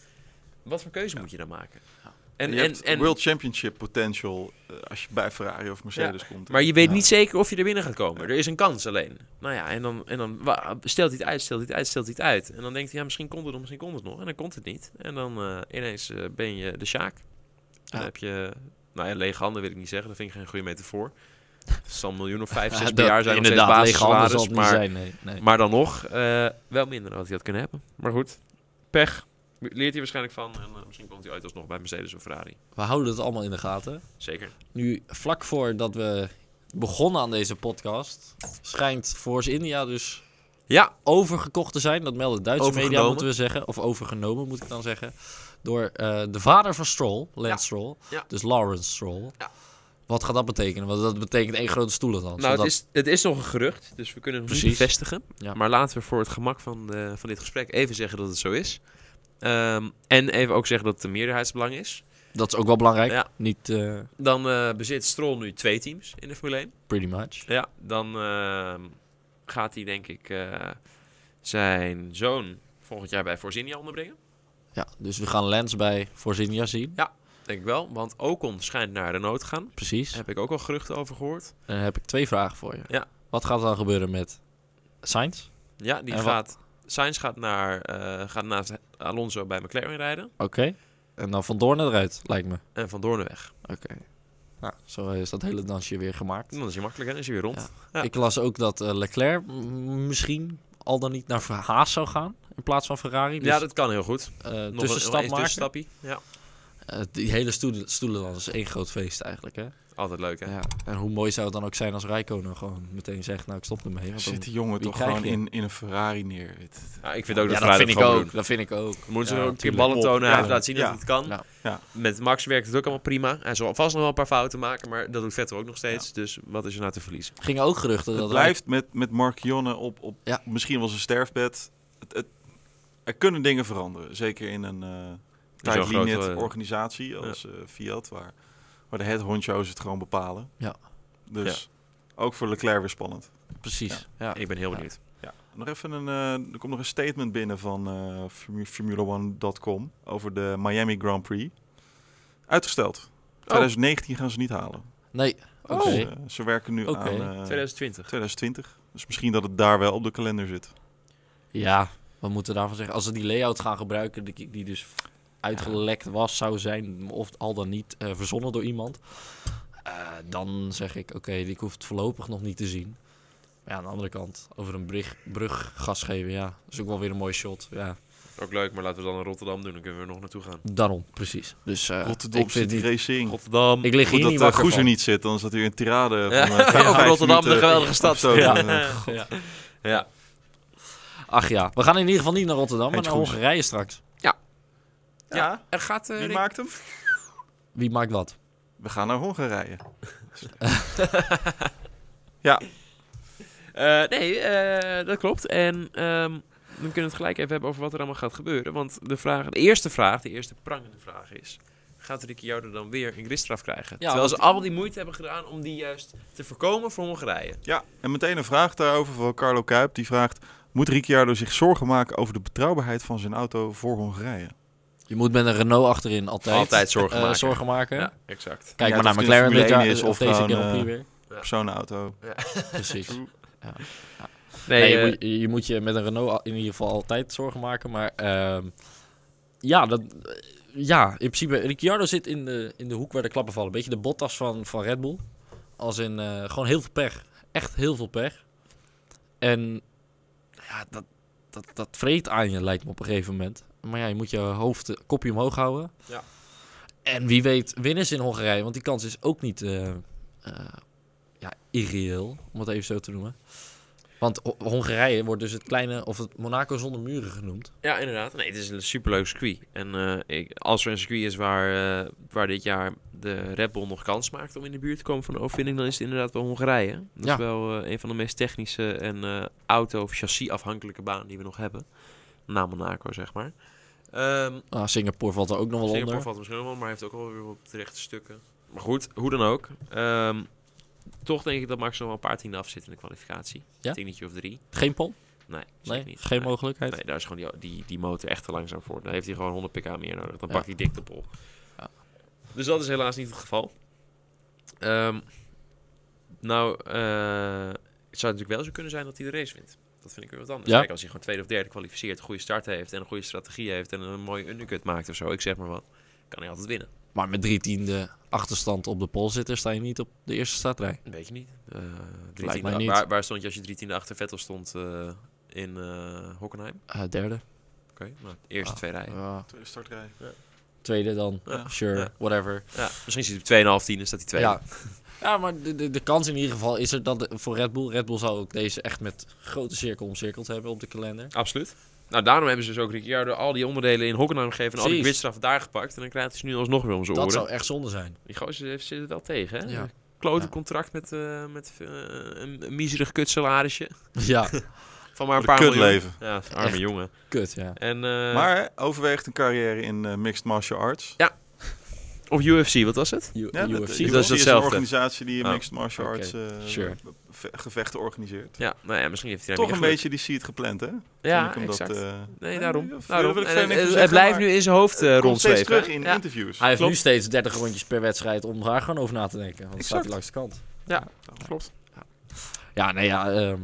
Wat voor keuze moet je dan maken? En, En, je en, hebt en, World Championship potential eh, als je bij Ferrari of Mercedes komt. maar je weet Ja. niet zeker of je er binnen gaat komen. Er is een kans alleen. Nou ja, en dan, en dan wa- stelt hij het uit, stelt hij het uit, stelt hij het uit. En dan denkt hij, ja, misschien komt het nog, misschien komt het nog. En dan komt het niet. En dan eh, ineens eh, ben je de Sjaak. En Dan Ja. heb je, nou ja, lege handen wil ik niet zeggen. Dat vind ik geen goede metafoor. Het zal een [LAUGHS] miljoen of vijf, Ja, zes per dat- jaar zijn. nog steeds Inderdaad, lege handen zal basissalaris, het niet maar, zijn. Nee, nee. maar dan nog, eh, wel minder dan wat hij had kunnen hebben. Maar goed, pech. Leert hij waarschijnlijk van. En eh, misschien komt hij ooit alsnog bij Mercedes of Ferrari. We houden het allemaal in de gaten. Zeker. Nu, vlak voordat we begonnen aan deze podcast, schijnt Force India dus Ja, overgekocht te zijn. Dat melden Duitse media, Overgenomen. moeten we zeggen. Of overgenomen, moet ik dan zeggen. Door eh, de vader van Stroll, Lance Stroll. ja. Dus Lawrence Stroll. Ja. Wat gaat dat betekenen? Want dat betekent één grote stoelendans. Nou, het Zodat- is, het is nog een gerucht, dus we kunnen het nog niet Precies. bevestigen. Ja. Maar laten we voor het gemak van, eh, van dit gesprek even zeggen dat het zo is. Ehm, en even ook zeggen dat het een meerderheidsbelang is. dat is ook wel belangrijk. Ja. Niet eh, Dan eh, bezit Stroll nu twee teams in de Formule 1. pretty much. Ja, dan ehm, gaat hij denk ik eh, zijn zoon volgend jaar bij Force India onderbrengen. Ja, dus we gaan Lance bij Force India zien. Denk ik wel, want Ocon schijnt naar Renault te gaan. Precies. Daar heb ik ook al geruchten over gehoord. En dan heb ik twee vragen voor je. Ja. Wat gaat er dan gebeuren met Sainz? Ja, die En wat- gaat... Sainz gaat, naar, eh, gaat naast Alonso bij McLaren rijden. Oké. En dan Van Doorn eruit, lijkt me. En Van Doorn weg. Oké. Nou, zo is dat hele dansje weer gemaakt. Dan is hij makkelijk en is hij weer rond. Ja. Ik las ook dat eh, Leclerc m- misschien al dan niet naar Ver- Haas zou gaan in plaats van Ferrari. Dus, ja, dat kan heel goed. eh, Nog tussenstap een, nog maken. een stapje. Ja. Eh, die hele stoelen, stoelendans is één groot feest eigenlijk, hè? Altijd leuk, hè? Ja. En hoe mooi zou het dan ook zijn als Rijkonen gewoon meteen zegt, nou, ik stop ermee. want dan- Zit die jongen wie toch krijg gewoon je? in, in een Ferrari neer. Het- Nou, ik vind ook ja, dat dat Vrijdag vind ik gewoon ook. doen. Dat vind ik ook. Dan Moeten ze Ja, ook een keer tuurlijk. ballen tonen. Ja. Hij heeft laten zien Ja. dat het kan. Ja. Ja. Met Max werkt het ook allemaal prima. Hij zal vast nog wel een paar fouten maken, maar dat doet Vettel ook nog steeds. Dus wat is er nou te verliezen? Gingen ook geruchten dat Het Rijk- blijft met, met Mark Jonne op, op Ja. misschien wel zijn sterfbed. Het, het, er kunnen dingen veranderen. Zeker in een Zo'n uh, grote, eh, organisatie als eh, Fiat, waar, waar de headhoncho's het gewoon bepalen. Ja. Dus ook voor Leclerc weer spannend. Precies. Ja. Ik ben heel Ja. benieuwd. Ja. Nog even een, eh, er komt nog een statement binnen van eh Formu- Formula1.com over de Miami Grand Prix. Uitgesteld. 2019 gaan ze niet halen. Nee, oké. Oh. Dus, eh, ze werken nu Oké. aan eh, 2020. 2020. Dus misschien dat het daar wel op de kalender zit. Ja, wat moeten we daarvan zeggen? Als ze die layout gaan gebruiken, die, die dus uitgelekt was, zou zijn, of al dan niet eh, verzonnen door iemand, eh, dan zeg ik, oké, ik hoef het voorlopig nog niet te zien. Maar ja, aan de andere kant, over een brug, brug gas geven, ja, dat is ook wel weer een mooi shot. Ja, Ook leuk, maar laten we dan in Rotterdam doen. Dan kunnen we er nog naartoe gaan. daarom, precies. Dus eh, Rotterdam ik, vind City niet- Racing. Rotterdam. ik lig Goed hier eh, niet dat daar wakker Goezer van. niet zit, dan zat u een tirade van Ja, eh, vijf [LAUGHS] over Rotterdam, de minuten geweldige of stad. zo. Ja. Eh, Ja. ja. Ach ja, we gaan in ieder geval niet naar Rotterdam, maar Eindje naar goed. Hongarije straks. Ja, Er gaat... eh, wie Rick- maakt hem? Wie maakt wat? We gaan naar Hongarije. Eh, nee, eh, dat klopt. En ehm, we kunnen het gelijk even hebben over wat er allemaal gaat gebeuren. Want de, vraag, de eerste vraag, de eerste prangende vraag is... Gaat Ricciardo dan weer een gridstraf krijgen? Terwijl want- ze allemaal die moeite hebben gedaan om die juist te voorkomen voor Hongarije. Ja, en meteen een vraag daarover van Carlo Kuip. Die vraagt, moet Ricciardo zich zorgen maken over de betrouwbaarheid van zijn auto voor Hongarije? Je moet met een Renault achterin altijd, Altijd zorgen eh, maken. zorgen maken. Ja, exact. Kijk Ja, maar naar of het een McLaren dit Formule jaar, 1 is of of deze gewoon, Grand Prix eh, weer. [LAUGHS] Personenauto. Precies. True. Nee, Nee, eh, je, moet, je- je moet je met een Renault al- in ieder geval altijd zorgen maken. Maar ehm, ja, dat, eh, ja, in principe. Ricciardo zit in de, in de hoek waar de klappen vallen. Beetje de bottas van, van Red Bull. Als in eh, gewoon heel veel pech. Echt heel veel pech. En ja, dat, dat, dat vreet aan je, lijkt me op een gegeven moment. Maar ja, je moet je hoofd, eh, kopje omhoog houden. Ja. En wie weet winnen ze in Hongarije. Want die kans is ook niet eh, eh, ja, irreëel, om het even zo te noemen. Want Ho- Hongarije wordt dus het kleine, of het Monaco zonder muren genoemd. Ja, inderdaad. Nee, het is een superleuk circuit. En eh, ik, als er een circuit is waar, eh, waar dit jaar de Red Bull nog kans maakt om in de buurt te komen van de overwinning, dan is het inderdaad wel Hongarije. Dat Ja. is wel eh, een van de meest technische en eh, auto- of chassis-afhankelijke banen die we nog hebben. Na Monaco, zeg maar. Ehm Ah, Singapore valt er ook nog wel Singapore onder. valt misschien wel, maar heeft ook alweer op de rechte stukken. Maar goed, hoe dan ook. Ehm, toch denk ik dat Max nog wel een paar tienden afzit in de kwalificatie. Ja? Tienetje of drie. Geen pol? Nee, Nee, zeker niet. geen Nee. mogelijkheid. Nee, daar is gewoon die, die, die motor echt te langzaam voor. Dan heeft hij gewoon 100 pk meer nodig. Dan Ja. pakt hij dik de pol. Ja. Dus dat is helaas niet het geval. Ehm, nou, eh, het zou natuurlijk wel zo kunnen zijn dat hij de race wint. Dat vind ik weer wat anders. Ja. Kijk, als hij gewoon tweede of derde kwalificeert, een goede start heeft en een goede strategie heeft en een mooie undercut maakt of zo, ik zeg maar wat, kan hij altijd winnen. Maar met drie tiende achterstand op de pol zitten, sta je niet op de eerste startrij. Weet je niet. Eh, drie mij tiende- niet. Waar, waar stond je als je drie tiende achter Vettel stond eh, in eh, Hockenheim? Eh, derde. Oké, nou, eerste Ah, twee rijen. Ja. Tweede startrij. tweede dan. Ja. Sure, Ja. whatever. Ja, misschien zit hij op 2,5 tiende, staat hij tweede. [LAUGHS] Ja. ja, maar de, de, de kans in ieder geval is er dat de- voor Red Bull. Red Bull zou ook deze echt met grote cirkel omcirkeld hebben op de kalender. Absoluut. Nou, daarom hebben ze dus ook Ricciardo al die onderdelen in Hockenheim gegeven... en al die Precies. gridstraffen daar gepakt. En dan krijgt hij ze nu alsnog weer om zijn Dat oren. zou echt zonde zijn. Die gozer heeft- zit er wel tegen, hè? Ja. Een Klote Ja. contract met, eh, met eh, een, een miserig kutsalarisje. Ja, [LAUGHS] Van maar een Wat een paar miljoen. kutleven. Ja, arme Echt. jongen. kut ja. En, eh, maar hè, overweegt een carrière in eh, mixed martial arts. Of UFC, wat was het? U- Ja, UFC. dat is, een hetzelfde. organisatie die Oh, mixed martial oké. arts eh, Sure. ve- gevechten organiseert. Ja, nou ja, misschien heeft hij Toch daarmee een geluk. beetje die see it gepland, hè? Ja, Vond ik hem exact. Dat, eh, nee, nee, daarom. dat daarom. wil ik En, verder eh, het niks over zeggen, blijft maar nu in zijn hoofd eh, komt steeds rondzweven. terug in Ja. interviews. Hij heeft Klopt. nu steeds 30 rondjes per wedstrijd om daar gewoon over na te denken. Want dan staat Exact. hij langs de kant. Klopt. Ja, nee, ja, ehm,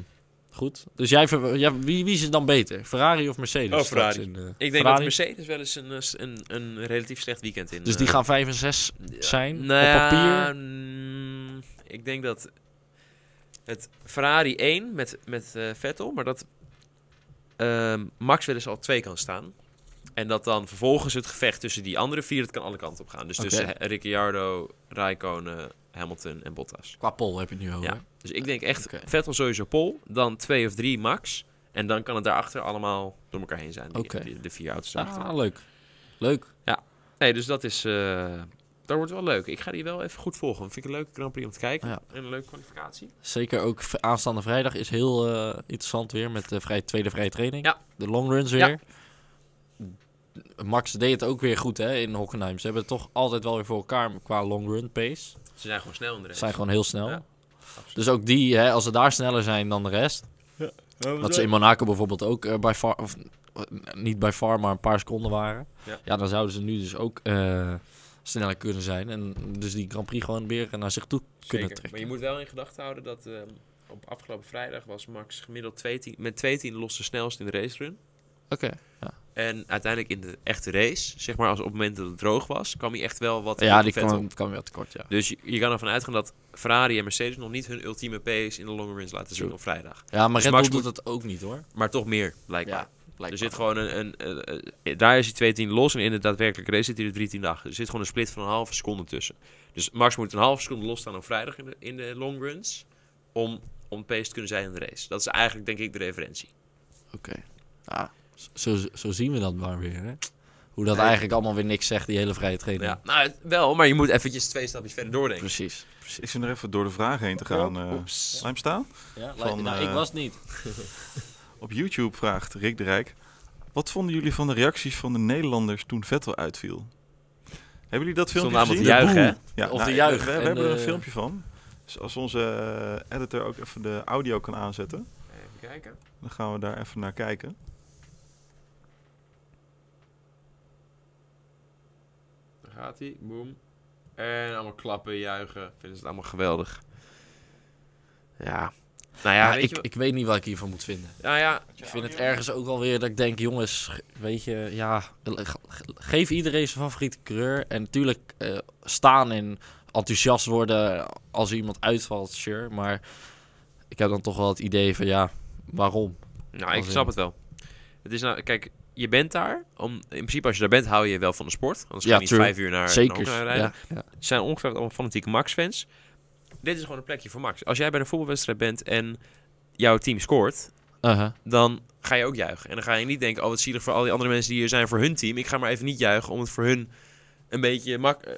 goed. Dus jij, ver- ja, wie, wie is het dan beter? Ferrari of Mercedes? Oh, Ferrari. straks in, eh, Ik denk Ferrari? dat Mercedes wel eens een, eh, s- een, een relatief slecht weekend in... Dus die eh, gaan 5 en 6 zijn Nou ja, op papier? mm, ik denk dat het Ferrari 1 met, met eh, Vettel, maar dat ehm, Max wel eens al 2 kan staan. En dat dan vervolgens het gevecht tussen die andere vier, het kan alle kanten op gaan. Dus Oké. tussen He- Ricciardo, Raikkonen, Hamilton en Bottas. Qua pol heb je het nu over. Ja. Dus ik denk echt Oké. Vettel sowieso Pol, dan 2 of 3 Max. En dan kan het daarachter allemaal door elkaar heen zijn, die, Oké. die- de vier auto's daarachter. Ah, leuk. Leuk. Nee, dus dat is. eh dat wordt wel leuk. Ik ga die wel even goed volgen. Vind ik een leuke Grand Prix om te kijken. Ja. En een leuke kwalificatie. Zeker ook v- aanstaande vrijdag is heel eh, interessant weer met de vrij, tweede vrije training. Ja. De long runs Ja. weer. Max deed het ook weer goed hè, in Hockenheim. Ze hebben het toch altijd wel weer voor elkaar qua long run pace. Ze zijn gewoon snel in de Ze race. zijn gewoon heel snel. Ja, absoluut. Dus ook die, hè, als ze daar sneller zijn dan de rest. Wat ze in Monaco bijvoorbeeld ook eh, bij far, of, eh, niet bij far, maar een paar seconden waren. Ja. Ja, dan zouden ze nu dus ook eh, sneller kunnen zijn. En dus die Grand Prix gewoon weer naar zich toe kunnen trekken. Maar je moet wel in gedachten houden dat ehm, op afgelopen vrijdag was Max gemiddeld 2 met 2 los de snelst in de race run. Oké. En uiteindelijk in de echte race, zeg maar als op het moment dat het droog was, kwam hij echt wel wat Ja, op die Vettel. kwam, kwam wel tekort, ja. Dus je, je kan ervan uitgaan dat Ferrari en Mercedes nog niet hun ultieme pace in de long runs laten zien True. op vrijdag. Ja, maar Dus Red Max Bull doet dat ook niet, hoor. Maar toch meer, ah, blijkbaar. Ja, dus blijkbaar. Er zit gewoon een... een eh, eh, daar is die 2 tiende los en in de daadwerkelijke race zit hij er 3 tiende achter. Er zit gewoon een split van een halve seconde tussen. Dus Max moet een halve seconde losstaan op vrijdag in de, in de long runs... om, om pace te kunnen zijn in de race. Dat is eigenlijk, denk ik, de referentie. Oké. Ja, zo, zo zien we dat maar weer, hè. Hoe dat Nee. eigenlijk allemaal weer niks zegt, die hele vrije training. Ja, nou, het- wel, maar je moet eventjes twee stapjes verder doordenken. Precies. Ik zit nog even door de vraag heen te gaan. eh Oeps. Laat hem staan. Ja, Van, nou, ik eh, was niet. Op YouTube vraagt Rick de Rijk... Wat vonden jullie van de reacties van de Nederlanders toen Vettel uitviel? Hebben jullie dat filmpje allemaal te gezien? juichen, hè? Ja, Of nou, te juichen. We, we En, hebben er een eh, filmpje van. Dus als onze eh, editor ook even de audio kan aanzetten... Even kijken. dan gaan we daar even naar kijken. Daar gaat hij, boom. En allemaal klappen, juichen. Vinden ze het allemaal geweldig. Ja. Nou ja, Ja, weet ik, je wat- ik weet niet wat ik hiervan moet vinden. Nou ja, Ik vind het ergens ook alweer dat ik denk, jongens, ge- weet je, ja, ge- ge- geef iedereen zijn favoriete kleur. En natuurlijk eh, staan en enthousiast worden als iemand uitvalt, sure. Maar ik heb dan toch wel het idee van, ja, waarom? nou, ik Als snap in- het wel. Het is nou, kijk, je bent daar. Om, in principe, als je daar bent, hou je wel van de sport. Anders Ja, ga je niet true. vijf uur naar Zeker. naar rijden. Ja, ja. Het zijn ongetwijfeld allemaal fanatieke Max-fans. Dit is gewoon een plekje voor Max. Als jij bij een voetbalwedstrijd bent en jouw team scoort, Uh-huh. dan ga je ook juichen. En dan ga je niet denken, oh wat zielig voor al die andere mensen die hier zijn voor hun team. Ik ga maar even niet juichen om het voor hun een beetje mak eh,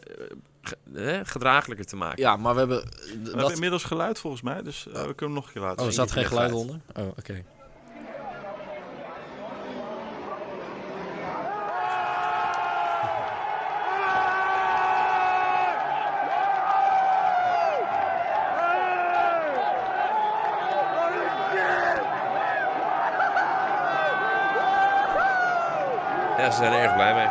ge- eh, gedraaglijker te maken. ja, maar we hebben... eh, We hebben Dat... inmiddels geluid volgens mij, dus eh, we kunnen hem nog een keer laten Oh, er zien. zat geen geluid onder? Oh, oké. Ja, ze zijn er erg blij mee.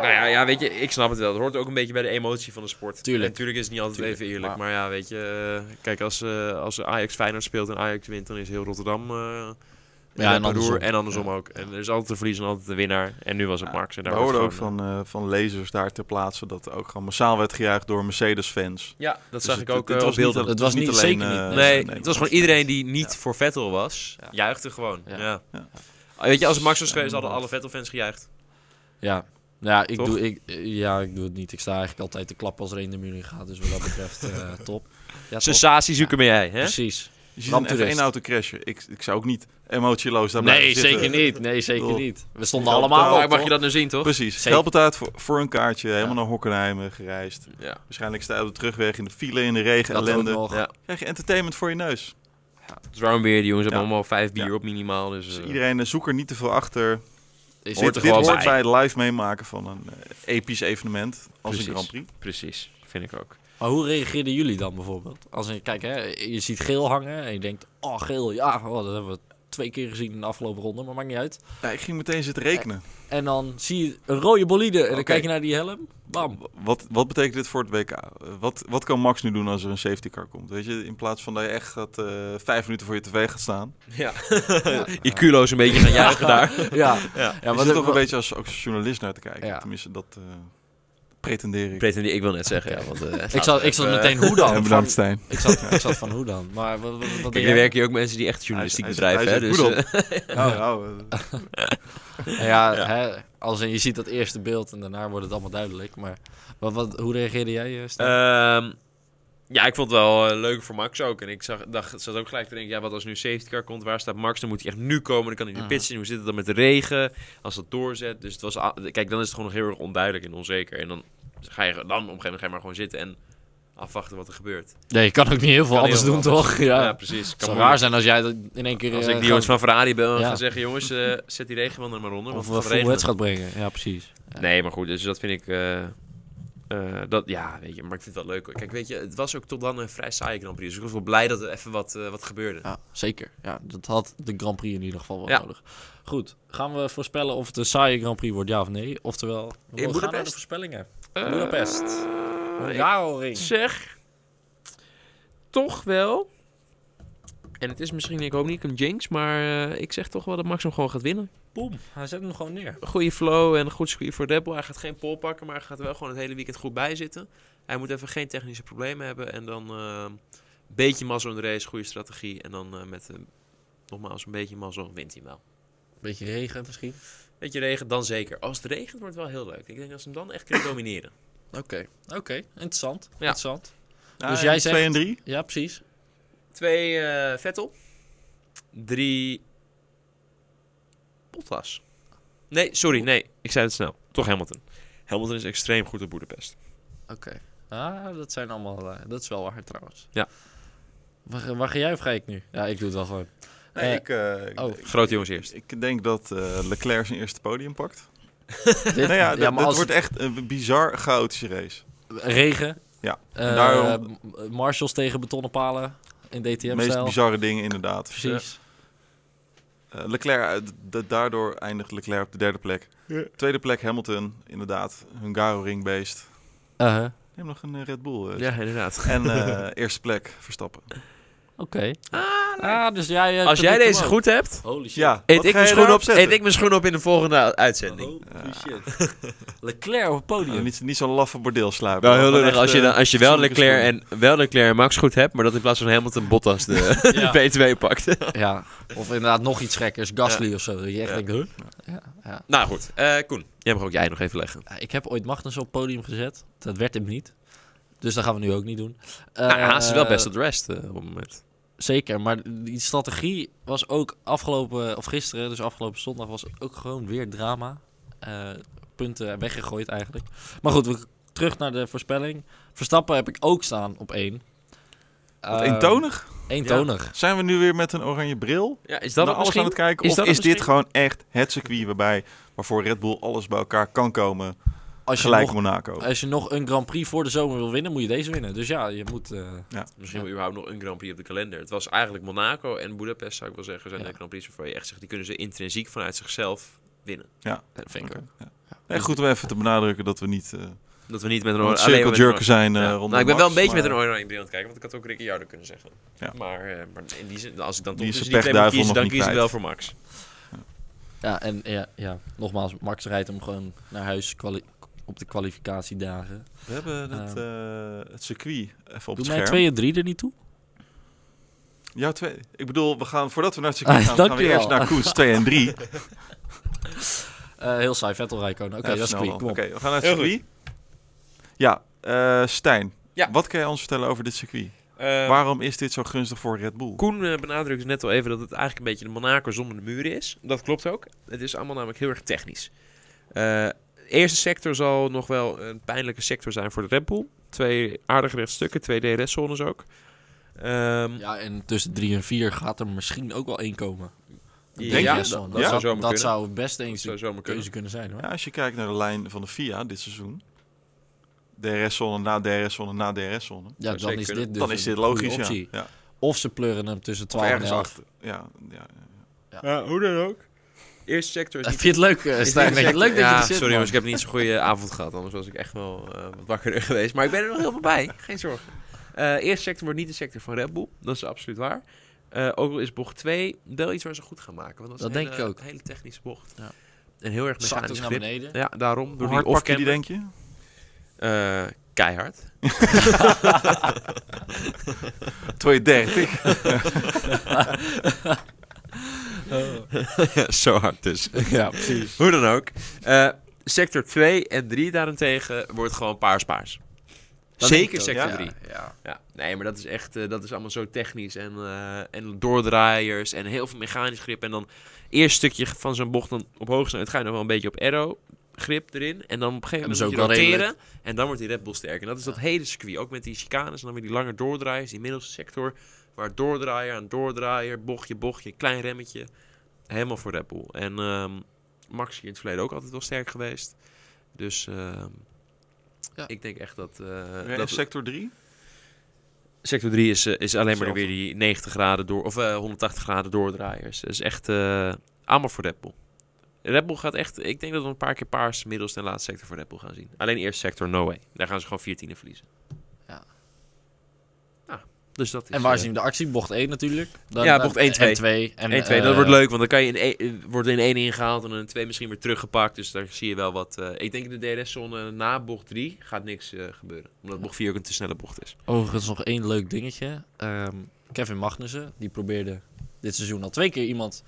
Nou ja, ja, weet je, ik snap het wel. Het hoort ook een beetje bij de emotie van de sport. Tuurlijk. En Natuurlijk is het niet altijd Tuurlijk, even eerlijk. Maar... maar- ja, weet je, eh, kijk, als, eh, als Ajax Feyenoord speelt en Ajax wint, dan is heel Rotterdam... eh, een en reparoer. andersom. En andersom ook. En er is altijd een verliezer en altijd een winnaar. En nu was het Ja, Max. En We daar hoorden ook wordt gewoon, van, eh, van lezers daar ter plaatse dat er ook gewoon massaal werd gejuicht door Mercedes-fans. eh, Ja, dat zag ik Dus het- ook het eh, op was niet beelden. al- Het was niet- zeker eh, niet, Nee, nee, het was gewoon iedereen die niet Ja. voor Vettel was, Ja. juichte gewoon. Ja. Ja. Ja. Ah, Weet je, als het Max was geweest, Ja, hadden alle Vettel-fans gejuicht. Ja. Ja ik, Toch? doe, ik, ja, ik doe het niet. Ik sta eigenlijk altijd te klappen als er één de muur in gaat. Dus wat dat betreft, eh, top. Ja, Dus- top. Sensatiezoeker ben jij, hè? Precies. Je ziet een Ramp F1 toerist. auto crashen. Ik, ik zou ook niet emotieloos daar Nee, blijven zitten. zeker niet. Nee, zeker Bedoel, niet. We stonden geld allemaal betaald, Vaak op, mag hoor. je dat nu zien, toch? Precies. Zeker. Geld betaald voor, voor een kaartje, helemaal Ja. naar Hockenheim eh, gereisd. Ja. Waarschijnlijk sta je op de terugweg in de file, in de regen, Dat ook ellende. nog. Ja. Krijg je entertainment voor je neus. Het is warm weer, die jongens hebben Ja. allemaal vijf bier Ja. op minimaal. Dus, Dus eh, iedereen eh, zoek er niet te veel achter. Je Hoort er zit er dit gewoon gewoon hoort bij. bij het live meemaken van een eh, episch evenement als Precies. een Grand Prix. Precies, vind ik ook. Maar hoe reageerden jullie dan bijvoorbeeld? Als je, kijk, hè, je ziet geel hangen en je denkt, oh geel, ja, oh, dat hebben we twee keer gezien in de afgelopen ronde, maar maakt niet uit. Ja, ik ging meteen zitten rekenen. En dan zie je een rode bolide en dan Oké. kijk je naar die helm, [LAUGHS] bam. Wat, wat betekent dit voor het WK? Eh, Wat, wat kan Max nu doen als er een safety car komt? Weet je, in plaats van dat je echt gaat, eh, vijf minuten voor je tv gaat staan. Ja. [LAUGHS] je culo's een beetje gaan juichen daar. [LAUGHS] Ja, Ja. ja je zit toch een beetje als, ook als journalist naar te kijken. Ja. Tenminste, dat eh pretendeer ik. Pretendeer, ik wil net zeggen, ja. [LAUGHS] Want, eh, ik laten zat, we ik zat [LAUGHS] even- eh, meteen hoe dan? En Van- bedankt, Stijn. ik, zat, ik zat van hoe dan? Maar wat, wat, wat Kijk, deed hier jij? Oh. werken hier ook mensen die echt journalistiek Hij- hij bedrijven, hè? zegt- hij Dus, zegt, eh, [LAUGHS] Nou, eh, Ja, Hè, als in, je ziet dat eerste beeld en daarna wordt het allemaal duidelijk. Maar wat, wat, hoe reageerde jij, eh, Stijn? Ehm, ja, ik vond het wel eh, leuk voor Max ook. En ik zag, dacht, zat ook gelijk te denken, ja, wat als nu safety car komt, waar staat Max? Dan moet hij echt nu komen, dan kan hij in de Mhm. pits zien. Hoe zit het dan met de regen? Als dat doorzet. Dus het was, a- kijk, dan is het gewoon nog heel erg onduidelijk en onzeker. En dan ga je dan op een gegeven moment ga je maar gewoon zitten en afwachten wat er gebeurt. Nee, je kan ook niet heel veel Kan anders heel doen, veel anders. toch? Ja. precies. Het zou moeilijk. raar zijn als jij dat in één keer... Als eh, ik die jongens gewoon van Ferrari bel en Ja. ga zeggen, jongens, eh, zet die regenwand er maar onder. Want het Of een gaat full regenen. wedstrijd brengen. Ja, precies. Nee, maar goed, dus dat vind ik. eh, eh, dat, ja, weet je, maar ik vind het wel leuk. hoor. Kijk, weet je, het was ook tot dan een vrij saaie Grand Prix. Dus ik was wel blij dat er even wat, eh, wat gebeurde. Ja, zeker. Ja, dat had de Grand Prix in ieder geval wel Ja. nodig. Goed, gaan we voorspellen of het een saaie Grand Prix wordt, ja of nee? Oftewel, we gaan naar de Boedapest? voorspellingen. Eh, Budapest. ik Hungaroring. zeg toch wel. En het is misschien, ik hoop niet een jinx, maar eh, ik zeg toch wel dat Max hem gewoon gaat winnen. Boom. Hij zet hem gewoon neer. Goede flow en een goed circuit voor Red Bull. Hij gaat geen pol pakken, maar hij gaat wel gewoon het hele weekend goed bijzitten. Hij moet even geen technische problemen hebben. En dan eh, een beetje mazzel in de race, goede strategie. En dan eh, met, eh, nogmaals, een beetje mazzel wint hij wel. Beetje regen misschien. Beetje regen, dan zeker. Als het regent, wordt het wel heel leuk. Ik denk dat ze hem dan echt [COUGHS] kunnen domineren. Oké. Oké. Interessant. Interessant. Nou, Dus jij en zegt- 2 en 3? Ja, precies. Twee eh, Vettel. Drie Bottas. Nee, sorry, nee. Ik zei het snel. Toch Hamilton. Hamilton is extreem goed op Boedapest. Oké. Ah, dat zijn allemaal... eh, dat is wel waar trouwens. Ja. Waar, waar ga jij of ga ik nu? Ja, ik doe het wel gewoon. Nee, Eh, ik, eh, ik- oh. ik, Grote jongens eerst. ik denk dat eh, Leclerc zijn eerste podium pakt. Dit- nou ja, ja, dat maar als wordt echt een bizar chaotische race. Regen. Ja, Eh, daarom- m- Marshalls tegen betonnen palen. In De meest DTM-stijl. bizarre dingen inderdaad. Precies. Eh, Leclerc, eh, d- d- daardoor eindigt Leclerc op de derde plek. Tweede plek Hamilton, inderdaad. Hungaroring beest. Uh-huh. Neem nog een eh, Red Bull. eh. Ja, inderdaad. En [LAUGHS] eh, eerste plek Verstappen. Oké. Ah, dus jij... eh, Als jij predict deze hem goed hebt, ook. Holy shit. Ja, eet wat ik, ga je mijn schoen daarop op, zetten? eet ik mijn schoen op in de volgende uitzending. Holy shit. Leclerc op het Ja, podium. Nou, niet, niet zo'n laffe bordeel sluipen. Wel Nou, heel Gewoon lullig echt, als je, eh, dan, als je wel, fatsoenlijke schoenen. Leclerc en, wel Leclerc en Max goed hebt, maar dat in plaats van Hamilton Bottas de, [LAUGHS] [LAUGHS] Ja. de P2 pakt. Ja. Of inderdaad nog iets gekkers. Gasly of zo. Dat je echt Ja. denkt, huh? Ja, ja. [LAUGHS] nou goed, eh, Koen, jij mag ook jij nog even leggen. Ik heb ooit Magnus op het podium gezet. Dat werd hem niet. Dus dat gaan we nu ook niet doen. nou, Haas is wel Eh, best op de rest eh, op het moment. Zeker, maar die strategie was ook afgelopen, of gisteren, dus afgelopen zondag, was ook gewoon weer drama. Eh, punten weggegooid eigenlijk. Maar goed, we, terug naar de voorspelling. Verstappen heb ik ook staan op één. Wat eh, Ehm, eentonig? Eentonig. Zijn we nu weer met een oranje bril? Ja, is naar alles aan het kijken? is of dat is het dit misschien? gewoon echt het circuit waarbij, waarvoor Red Bull alles bij elkaar kan komen? Als, je Gelijk nog, Monaco. Eh, als je nog een Grand Prix voor de zomer wil winnen, moet je deze winnen. Dus ja, je moet... eh, Misschien wel überhaupt nog een Grand Prix op de kalender. Het was eigenlijk Monaco en Budapest, zou ik wel zeggen, zijn Ja. de Grand Prix waarvan je echt zegt, die kunnen ze intrinsiek vanuit zichzelf winnen. Eh, dat vind ik Oké, ook. ja. Nee, goed om even te benadrukken dat we niet eh Dat we niet met een aan alleen maar het circle met een- jerken zijn eh Ja. rondom nou, ik ben wel een Max, beetje met een maar oranje bril aan het kijken, want ik had ook Ricciardo kunnen zeggen. Ja. Maar, eh, maar in die zin, als ik dan Die toch is tussen die de twee moet pechduivel kiezen, nog dan niet kies ik kwijt. wel voor Max. Ja, en ja, ja, nogmaals, Max rijdt hem gewoon naar huis kwali- op de kwalificatiedagen. We hebben het, eh, het circuit even op het Ehm, Doe mij scherm. twee en drie er niet toe? Jouw twee. Ik bedoel, we gaan voordat we naar [LAUGHS] het circuit Ah, gaan, gaan we dankjewel. eerst naar Koens 2 en [LAUGHS] 3. Eh, heel saai, Vettel Rijkonen. Oké, Even dat is snel quick. dan. Kom op. Oké, we gaan naar het Heel circuit. Ja, eh, Stijn. Ja. Wat kan je ons vertellen over dit circuit? Eh, Waarom is dit zo gunstig voor Red Bull? Koen eh, benadrukte net al even dat het eigenlijk een beetje de Monaco zonder de muren is. Dat klopt ook. Het is allemaal namelijk heel erg technisch. Eh, de eerste sector zal nog wel een pijnlijke sector zijn voor de Red Bull. Twee aardig rechtstukken, twee DRS-zones ook. Ehm, Ja, en tussen 3 en 4 gaat er misschien ook wel één komen. Denk Denk je? je? Dat- Zo, dat zou zomaar dat kunnen. zou best dat eens zou een zomaar kunnen. keuze kunnen zijn hoor. Ja, als je kijkt naar de lijn van de FIA dit seizoen. DRS-zone na DRS-zone na DRS-zone. zou Ja, dan zeker is kunnen. dit dus Dan is een dit logisch, goede ja. optie. ja. Of ze pleuren hem tussen Of 12 en ergens 11. achter. Ja, ja, hoe dan ook. Eerste sector is [LAUGHS] niet... Vind je het leuk, eh, is Stijn? niet Leuk sector- dat je Ja, er zit, sorry man. jongens, ik heb niet zo'n goede avond gehad. Anders was ik echt wel eh, wat wakkerder [LAUGHS] geweest. Maar ik ben er nog heel veel bij. Geen zorgen. Eh eerste sector wordt niet de sector van Red Bull. Dat is absoluut waar. Eh, ook al is bocht 2 wel iets waar ze goed gaan maken. Want dat is Dat een denk hele, ik ook. Een hele technische bocht. Ja. En heel erg Zakt ook mechanisch naar grip. beneden. Ja, daarom. Hoe Door hard die pak je die, off-camber. denk je? Eh, [LAUGHS] keihard. [LAUGHS] [LAUGHS] 230. Zo hard dus. ja, precies. Hoe dan ook. Eh, sector 2 en 3 daarentegen wordt gewoon paars-paars. Dat denk ik Zeker ook, sector ja. 3. Ja. Ja, nee, maar dat is echt, eh, dat is allemaal zo technisch en, eh, en doordraaiers en heel veel mechanisch grip. En dan eerst stukje van zo'n bocht dan op hoog snelheid ga je nog wel een beetje op aero grip erin. En dan op een gegeven En moment moet je dat is ook wel roteren redelijk. en dan wordt die Red Bull sterk. En dat is dat hele circuit, ook met die chicanes en dan weer die lange doordraaiers, die middelste sector. Waar doordraaier aan doordraaier, bochtje, bochtje, klein remmetje. Helemaal voor Red Bull. En ehm, Max hier in het verleden ook altijd wel sterk geweest. Dus ehm, Ja. ik denk echt dat... eh, Ja, dat sector 3. Sector 3 is, eh, is alleen maar Zelfde. weer die 90 graden door, of eh, 180 graden doordraaiers. Dat is echt eh allemaal voor Red Bull. Red Bull gaat echt... Ik denk dat we een paar keer paars, middels en laatste sector voor Red Bull gaan zien. Alleen eerst sector, no way. Daar gaan ze gewoon 14 in verliezen. Ja. Nou, dus dat is... En waar eh, zien we de actie? Bocht 1 natuurlijk. Dan, eh, Ja, dan- bocht 1, 2. En 2. En, 1, 2, eh, dat wordt leuk, want dan kan je in één- eh, wordt in 1 ingehaald en in 2 misschien weer teruggepakt. Dus daar zie je wel wat. eh, ik denk in de DRS-zone eh, na bocht 3 gaat niks eh, gebeuren. Omdat bocht 4 ook een te snelle bocht is. Overigens nog één leuk dingetje. Ehm, Kevin Magnussen, die probeerde dit seizoen al twee keer iemand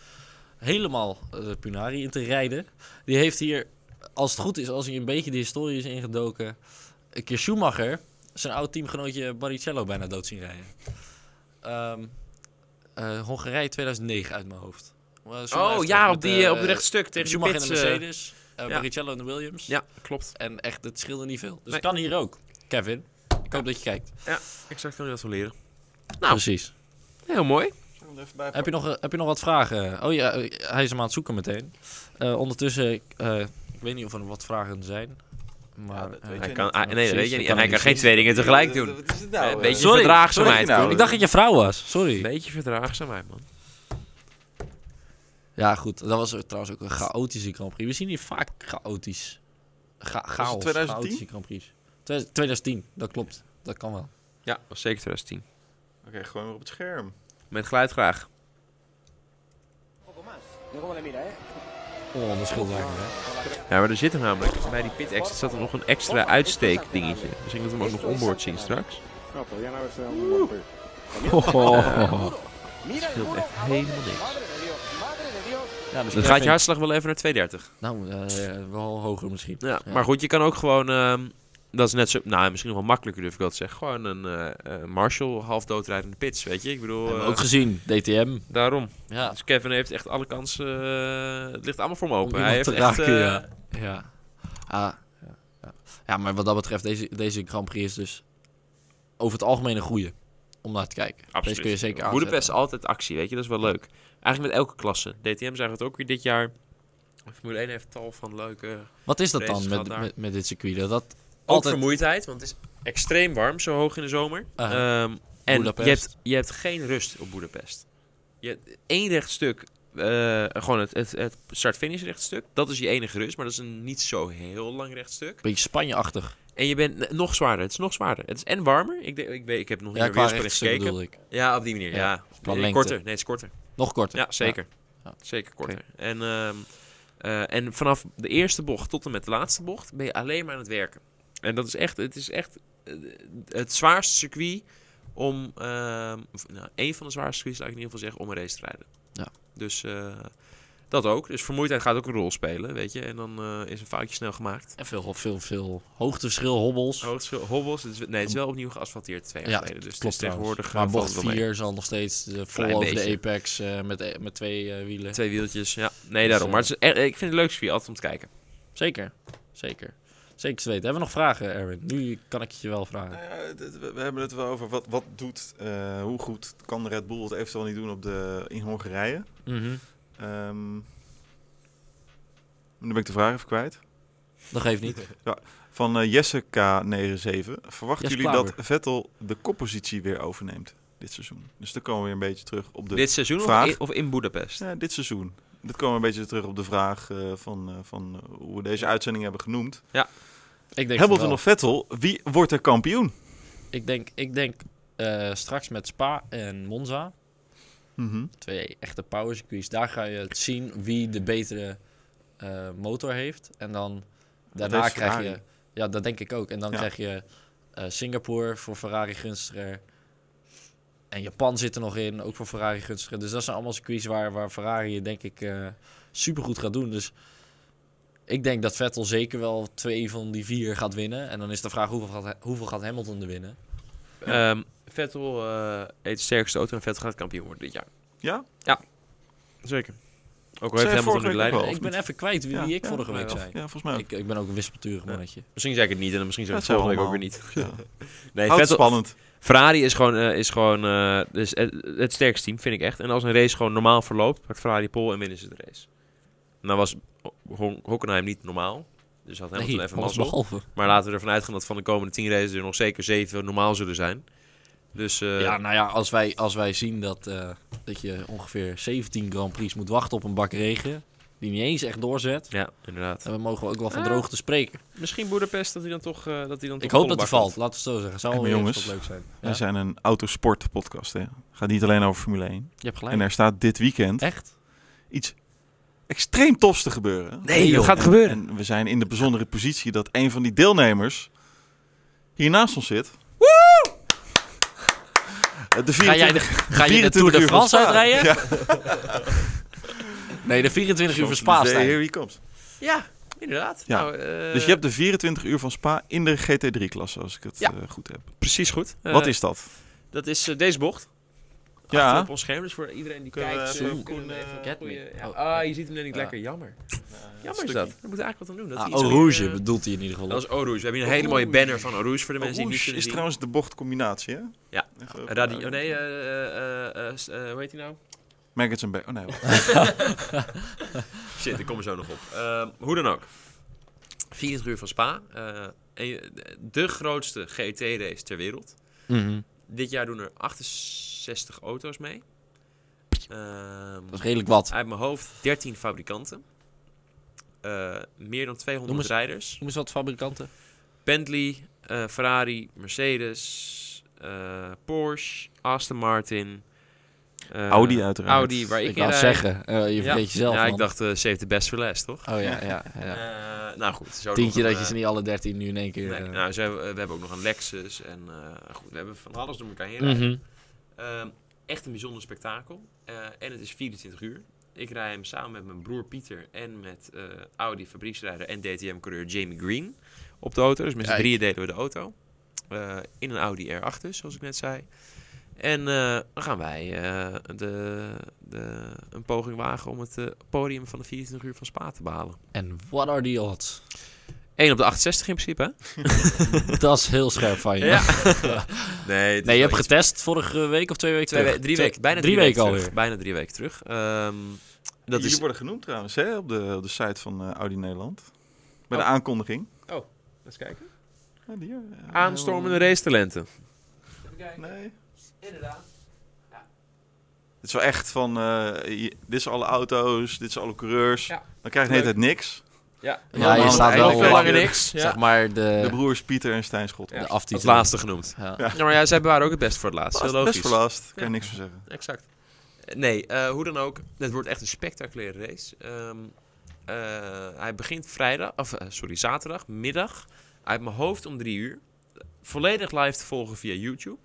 helemaal eh, Punari in te rijden. Die heeft hier, als het goed is, als hij een beetje de historie is ingedoken, een keer Schumacher, zijn oud teamgenootje Barrichello bijna dood zien rijden. Ehm, eh, Hongarije 2009 uit mijn hoofd. Eh, Oh, Schumacher heeft toch met, eh, rechtstuk Schumacher in de Mercedes, eh, ja. Barrichello in de Williams. Ja, klopt. En echt, het scheelde niet veel. Dus Nee. het kan hier ook. Kevin, ik hoop dat je kijkt. Exact kan je dat van leren. Nou. Precies. Heel mooi. Zal ik hem er even bij Heb je, nog, eh, heb je nog wat vragen? Oh ja, eh, hij is hem aan het zoeken meteen. Eh, ondertussen, ik, eh, ik weet niet of er wat vragen zijn. Maar, Ja, dat eh, weet Hij je kan, niet. ah, nee, dat weet je niet. En hij kan Precies. geen twee dingen tegelijk doen. Wat is het nou? Een eh? beetje Sorry. verdraagzaamheid. Sorry, nou. doen. ik dacht dat je vrouw was, Een sorry. beetje verdraagzaamheid, man. Ja goed, dat was trouwens ook een chaotische Grand Prix. We zien hier vaak chaotisch. Ga chaos, 2010? chaotische Grand Prix. 2010, dat klopt. Dat kan wel. Ja, was zeker 2010. Oké, gewoon weer op het scherm. Met geluid graag. poco más. Mira cómo le mira, ¿eh? Oh, dat scheelt eigenlijk, hè. Ja, maar er zit er namelijk. Bij die pit exit zat er nog een extra uitsteekdingetje. Misschien moeten we hem ook nog onboard zien straks. No, podrían haberse dado un golpe. Mira el scheelt muro, echt ¿a dónde? helemaal niks. Madre de Dios, madre de Dios. [LAUGHS] Ja, dus Dan Kevin- gaat je hartslag wel even naar 230. Nou, eh, wel hoger misschien. Ja, maar goed, je kan ook gewoon. ehm, dat is net zo. Nou, misschien nog wel makkelijker durf ik wel te zeggen. Gewoon een eh, eh, Marshall half dood rijdt in de pits. Weet je, ik bedoel. Hebben we eh, ook gezien, DTM. daarom. Ja, Dus Kevin heeft echt alle kansen. eh, het ligt allemaal voor hem Om open. Hij heeft iemand te echt, raken, eh, ja. Ja. Ah, ja, ja. ja, maar wat dat betreft, deze, deze Grand Prix is dus over het algemeen een goede om naar te kijken. Absoluut. Deze kun je zeker aan. Boedapest is altijd actie, weet je. Dat is wel leuk. Eigenlijk met elke klasse. DTM zagen we het ook weer dit jaar. Formule 1 heeft tal van leuke... Wat is dat Races dan gaat met, daar. met, met dit circuit? Dat, dat Ook altijd vermoeidheid, want het is extreem warm, zo hoog in de zomer. Ah, Ehm, en je Boedapest. hebt, je hebt geen rust op Boedapest. Je hebt één rechtstuk, eh, gewoon het, het, het start-finish rechtstuk. Dat is je enige rust, maar dat is een niet zo heel lang rechtstuk. een beetje Spanje-achtig. En je bent n- nog zwaarder, het is nog zwaarder. Het is en warmer, ik, denk- ik, weet, ik heb nog niet Ja, naar qua meer weer rechtsen gekeken. bedoel ik. Ja, op die manier, Ja, ja. qua Eh, lengte. Korter, nee, het is korter. Nog korter. Ja, zeker. Ja. Zeker korter. En, ehm, eh, en vanaf de eerste bocht tot en met de laatste bocht ben je alleen maar aan het werken. En dat is echt, het is echt eh, het zwaarste circuit om, ehm, of, nou, één van de zwaarste circuits, laat ik in ieder geval zeggen, om een race te rijden. Ja. Dus eh, dat ook. Dus vermoeidheid gaat ook een rol spelen, weet je. En dan eh, is een foutje snel gemaakt. En veel, veel, veel hoogteverschil, hobbels. Hoogste hobbels, het is, nee, het is wel opnieuw geasfalteerd twee jaar Ja, geleden. Oh, Dus het is Klopt tegenwoordig tegenwoordig. eh, valt Maar bocht het wel mee. 4 zal nog steeds eh, vol Klein over de beetje. apex eh, met, eh, met twee eh, wielen. Twee wieltjes, ja. Nee, Dus, daarom. eh, Maar het is, echt- ik vind het een leuk circuit, altijd om te kijken. Zeker. Zeker. Zeker te weten. Hebben we nog vragen, Erwin? Nu kan ik het je wel vragen. Nou ja, dit- we we hebben het wel over wat, wat doet, eh, hoe goed kan Red Bull het eventueel niet doen op de, in Hongarije. Mhm. Ehm, nu ben ik de vraag even kwijt. Dat geeft niet. Van eh, Jesse K97. Verwachten Jesse jullie Klaver. dat Vettel de koppositie weer overneemt dit seizoen? Dus dan komen we weer een beetje terug op de... Dit seizoen of vraag. in, of in Boedapest? Ja, dit seizoen. Dit komen we een beetje terug op de vraag eh, van, eh, van eh, hoe we deze uitzending hebben genoemd. Ik denk van Hamilton wel. of Vettel, wie wordt er kampioen? Ik denk, ik denk eh, straks met Spa en Monza, Mhm. twee echte power circuits, daar ga je het zien wie de betere eh, motor heeft. En dan daarna heeft krijg je, Ferrari. ja, dat denk ik ook. En dan Ja. krijg je eh, Singapore voor Ferrari gunstiger. En Japan zit er nog in, ook voor Ferrari gunstiger. Dus dat zijn allemaal circuits waar, waar Ferrari het denk ik eh supergoed gaat doen. Dus ik denk dat Vettel zeker wel twee van die vier gaat winnen. En dan is de vraag hoeveel gaat, hoeveel gaat Hamilton er winnen? Ehm, Vettel eh, heeft de sterkste auto en Vettel gaat kampioen worden dit jaar. Ja? Zeker. Ook al Zei heeft Hamilton vorige nu de week leiding. ook al. ik ben even kwijt wie, wie ik Ja, vorige week of- zei. Ja, volgens mij. ook. Ik, ik ben ook een wispelturig mannetje. Misschien zei ik het niet en dan misschien zeg ik Dat het volgende zijn week ook we weer niet. Ja. [LAUGHS] Nee, Houdt het Vettel, spannend. Ferrari is gewoon, eh, is gewoon eh, dus het, het sterkste team, vind ik echt. En als een race gewoon normaal verloopt, pakt Ferrari pole en winnen ze de race. Nou was Ho- Ho- Hockenheim niet normaal. Dus had Hamilton even alles mazzel. behalve. Maar laten we ervan uitgaan dat van de komende tien races er nog zeker zeven normaal zullen zijn. Dus eh, ja, nou ja, als wij, als wij zien dat, eh, dat je ongeveer 17 Grand Prix moet wachten op een bak regen. Die niet eens echt doorzet. Ja, inderdaad. En we mogen ook wel van droogte spreken. Misschien Boedapest dat hij dan toch... eh, dat hij dan Ik toch hoop volle dat hij bak valt, laten we het zo zeggen. Zou Hey, wel maar weer jongens, eens wat leuk zijn. Wij Ja. zijn een autosport podcast. Hè. Gaat niet alleen over Formule 1. Je hebt En gelijk. er staat dit weekend Echt? iets extreem tofs te gebeuren. Nee, dat joh. gaat gebeuren. En we zijn in de bijzondere positie dat een van die deelnemers hier naast ons zit. Woe! De Ga jij de, 24 ga je de 24 Tour de uur van France Spa. uitrijden? Dus Ja. Nee, de 24 uur van Spa Champs-Élysées, staan. Here he comes. Ja, inderdaad. Ja. Nou, eh, Dus je hebt de 24 uur van Spa in de GT3-klasse, als ik het Ja. eh, goed heb. precies goed. Eh, Wat is dat? Dat is eh, deze bocht. Ja. Achter op ons scherm, dus voor iedereen die Kunnen we kijkt. even eh, Koen, kunnen we even eh, een Get me. goeie- ja, Oh. Ah, je ziet hem net niet Ja. lekker, jammer. Jammer is stukje. dat. We moeten eigenlijk wat aan doen. Dat Ah, hij iets Eau meer, Rouge eh, bedoelt hij in ieder geval. Dat is Eau Rouge. We hebben hier een hele mooie banner van Eau Rouge voor de mensen die het Rouge niet kunnen is zien. trouwens de bochtcombinatie, hè? Ja. Even- Radio, oh nee, eh, eh, eh, eh, s- eh, hoe heet hij nou? Maggots and Ba- Oh nee, wacht. Shit, ik kom er zo nog op. Ehm, hoe dan ook. 24 uur van Spa. eh, en je- de grootste GT-race ter wereld. Mhm. Dit jaar doen er 68 auto's mee. Ehm, Dat is redelijk wat. uit mijn hoofd 13 fabrikanten. Eh, meer dan 200 Noem eens- rijders. Noem eens wat fabrikanten. Bentley, eh, Ferrari, Mercedes, eh, Porsche, Aston Martin. eh, Audi uiteraard. Audi, waar ik, Ik in wou rijd. zeggen, eh, je Ja. vergeet jezelf. Ja, ik man. dacht eh save the best for last, toch? Oh ja, ja. ja. Eh, nou goed. Zo Tientje nog dat een, je ze eh, niet alle 13 nu in één keer. nee, eh, nou, zo hebben we, we hebben ook nog een Lexus. En eh, goed, we hebben van alles door elkaar heen. mhm. Ehm, echt een bijzonder spektakel. Eh, en het is 24 uur. Ik rij hem samen met mijn broer Pieter en met eh, Audi fabrieksrijder en DTM-coureur Jamie Green op de auto. Dus met z'n Kijk. drieën delen we de auto. Eh, in een Audi R8 dus, zoals ik net zei. En eh, dan gaan wij eh, de, de, een poging wagen om het eh, podium van de 24 uur van Spa te behalen. En what are the odds? 1 op de 68 in principe, hè? [LAUGHS] dat is heel scherp van je. nee, het is [LAUGHS] Nee, je wel hebt iets- getest vorige week of twee weken Twee terug? we- drie Twee- weken, bijna drie weken terug. alweer. Bijna drie weken terug. Ehm, dat Jullie is worden genoemd trouwens, hè, op de, op de site van eh, Audi Nederland. Bij Oh. de aankondiging. Eens kijken. Ja, die, eh, Aanstormende racetalenten. Nee. Inderdaad. Dit is wel echt van, eh, je- dit zijn alle auto's, dit zijn alle coureurs. Ja. Dan krijg je de hele tijd niks. Ja, Ja, je Allemaal staat aan het wel einde. langer langer niks. Zeg maar De de, broers Pieter en Stijn Schot. Ja. de aftiteling. Als laatste genoemd. Ja. Ja. Nou, maar ja, zij bewaren ook het best voor het laatst. Heel Best, logisch. best verlast, kan je Ja. niks van zeggen. Exact. Eh, Nee, eh, hoe dan ook. Het wordt echt een spectaculaire race. Ehm, eh, hij begint vrijdag, of eh, sorry, zaterdag, middag. Uit mijn hoofd om drie uur. Volledig live te volgen via YouTube.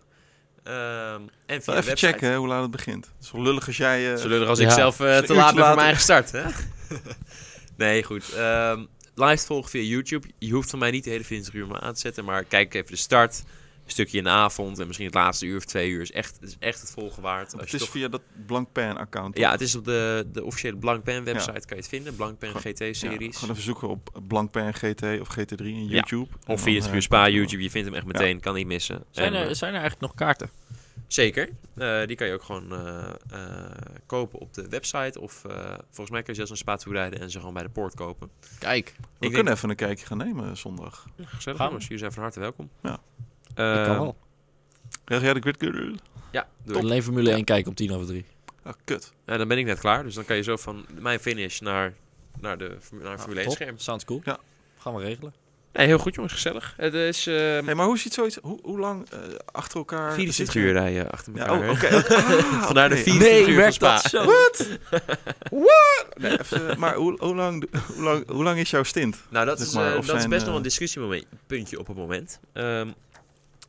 Ehm, en via Wel even website. checken hè, hoe laat het begint. Het is wel lullig als jij... eh, Zo lullig als Ja. ik zelf eh, Een te uurtje laat ben voor later. mijn eigen start, [LAUGHS] hè? nee, goed. Ehm live te volgen via YouTube. Je hoeft van mij niet de hele 24 uur maar aan te zetten, maar kijk even de start. Een stukje in de avond en misschien het laatste uur of twee uur. Is echt, is echt het volgen waard. Als het je is toch... via dat Blank Pan account. Ja, het is op de, de officiële Blank Pen website Ja. kan je het vinden. Blank Pen Gewoon- Ja, GT-series. gewoon even zoeken op Blank Pan GT of GT3 in YouTube. eh, of 24 uur Spa YouTube. Je vindt hem echt Ja. meteen. Kan niet missen. Zijn, En, er, eh, zijn er eigenlijk nog kaarten? Zeker. Eh, die kan je ook gewoon eh, eh, kopen op de website. Of eh, volgens mij kun je zelfs een spa toe rijden en ze gewoon bij de poort kopen. Kijk, We denk- kunnen even een kijkje gaan nemen eh, zondag. Gezellig Gaan we. jongens, jullie zijn van harte welkom. Ja. Ehm, ik kan wel. Krijg jij de grid girl? Ja, doe ik. Alleen Formule 1 kijken om tien over drie. Ah, kut. Nou, dan ben ik net klaar, dus dan kan je zo van mijn finish naar, naar de formu- naar het Formule 1 Top. scherm. Sounds cool. Ja. Gaan we regelen. Nee, heel goed jongens, gezellig. Het is ehm, Hey, maar hoe ziet zoiets... Hoe, hoe lang eh, achter elkaar... 24 zit je? uur eh, rijden achter Ja, eh, elkaar. oh, hè? oké. [LAUGHS] Ah, Vandaar de oké. vier- 24 uur van Spa. zo? Nee, even, eh, maar hoe, hoe, lang, hoe, lang, hoe lang is jouw stint? Nou, dat, Zeg is, maar, eh, of dat is zijn, best eh, nog een discussiepuntje op het moment. Ehm, want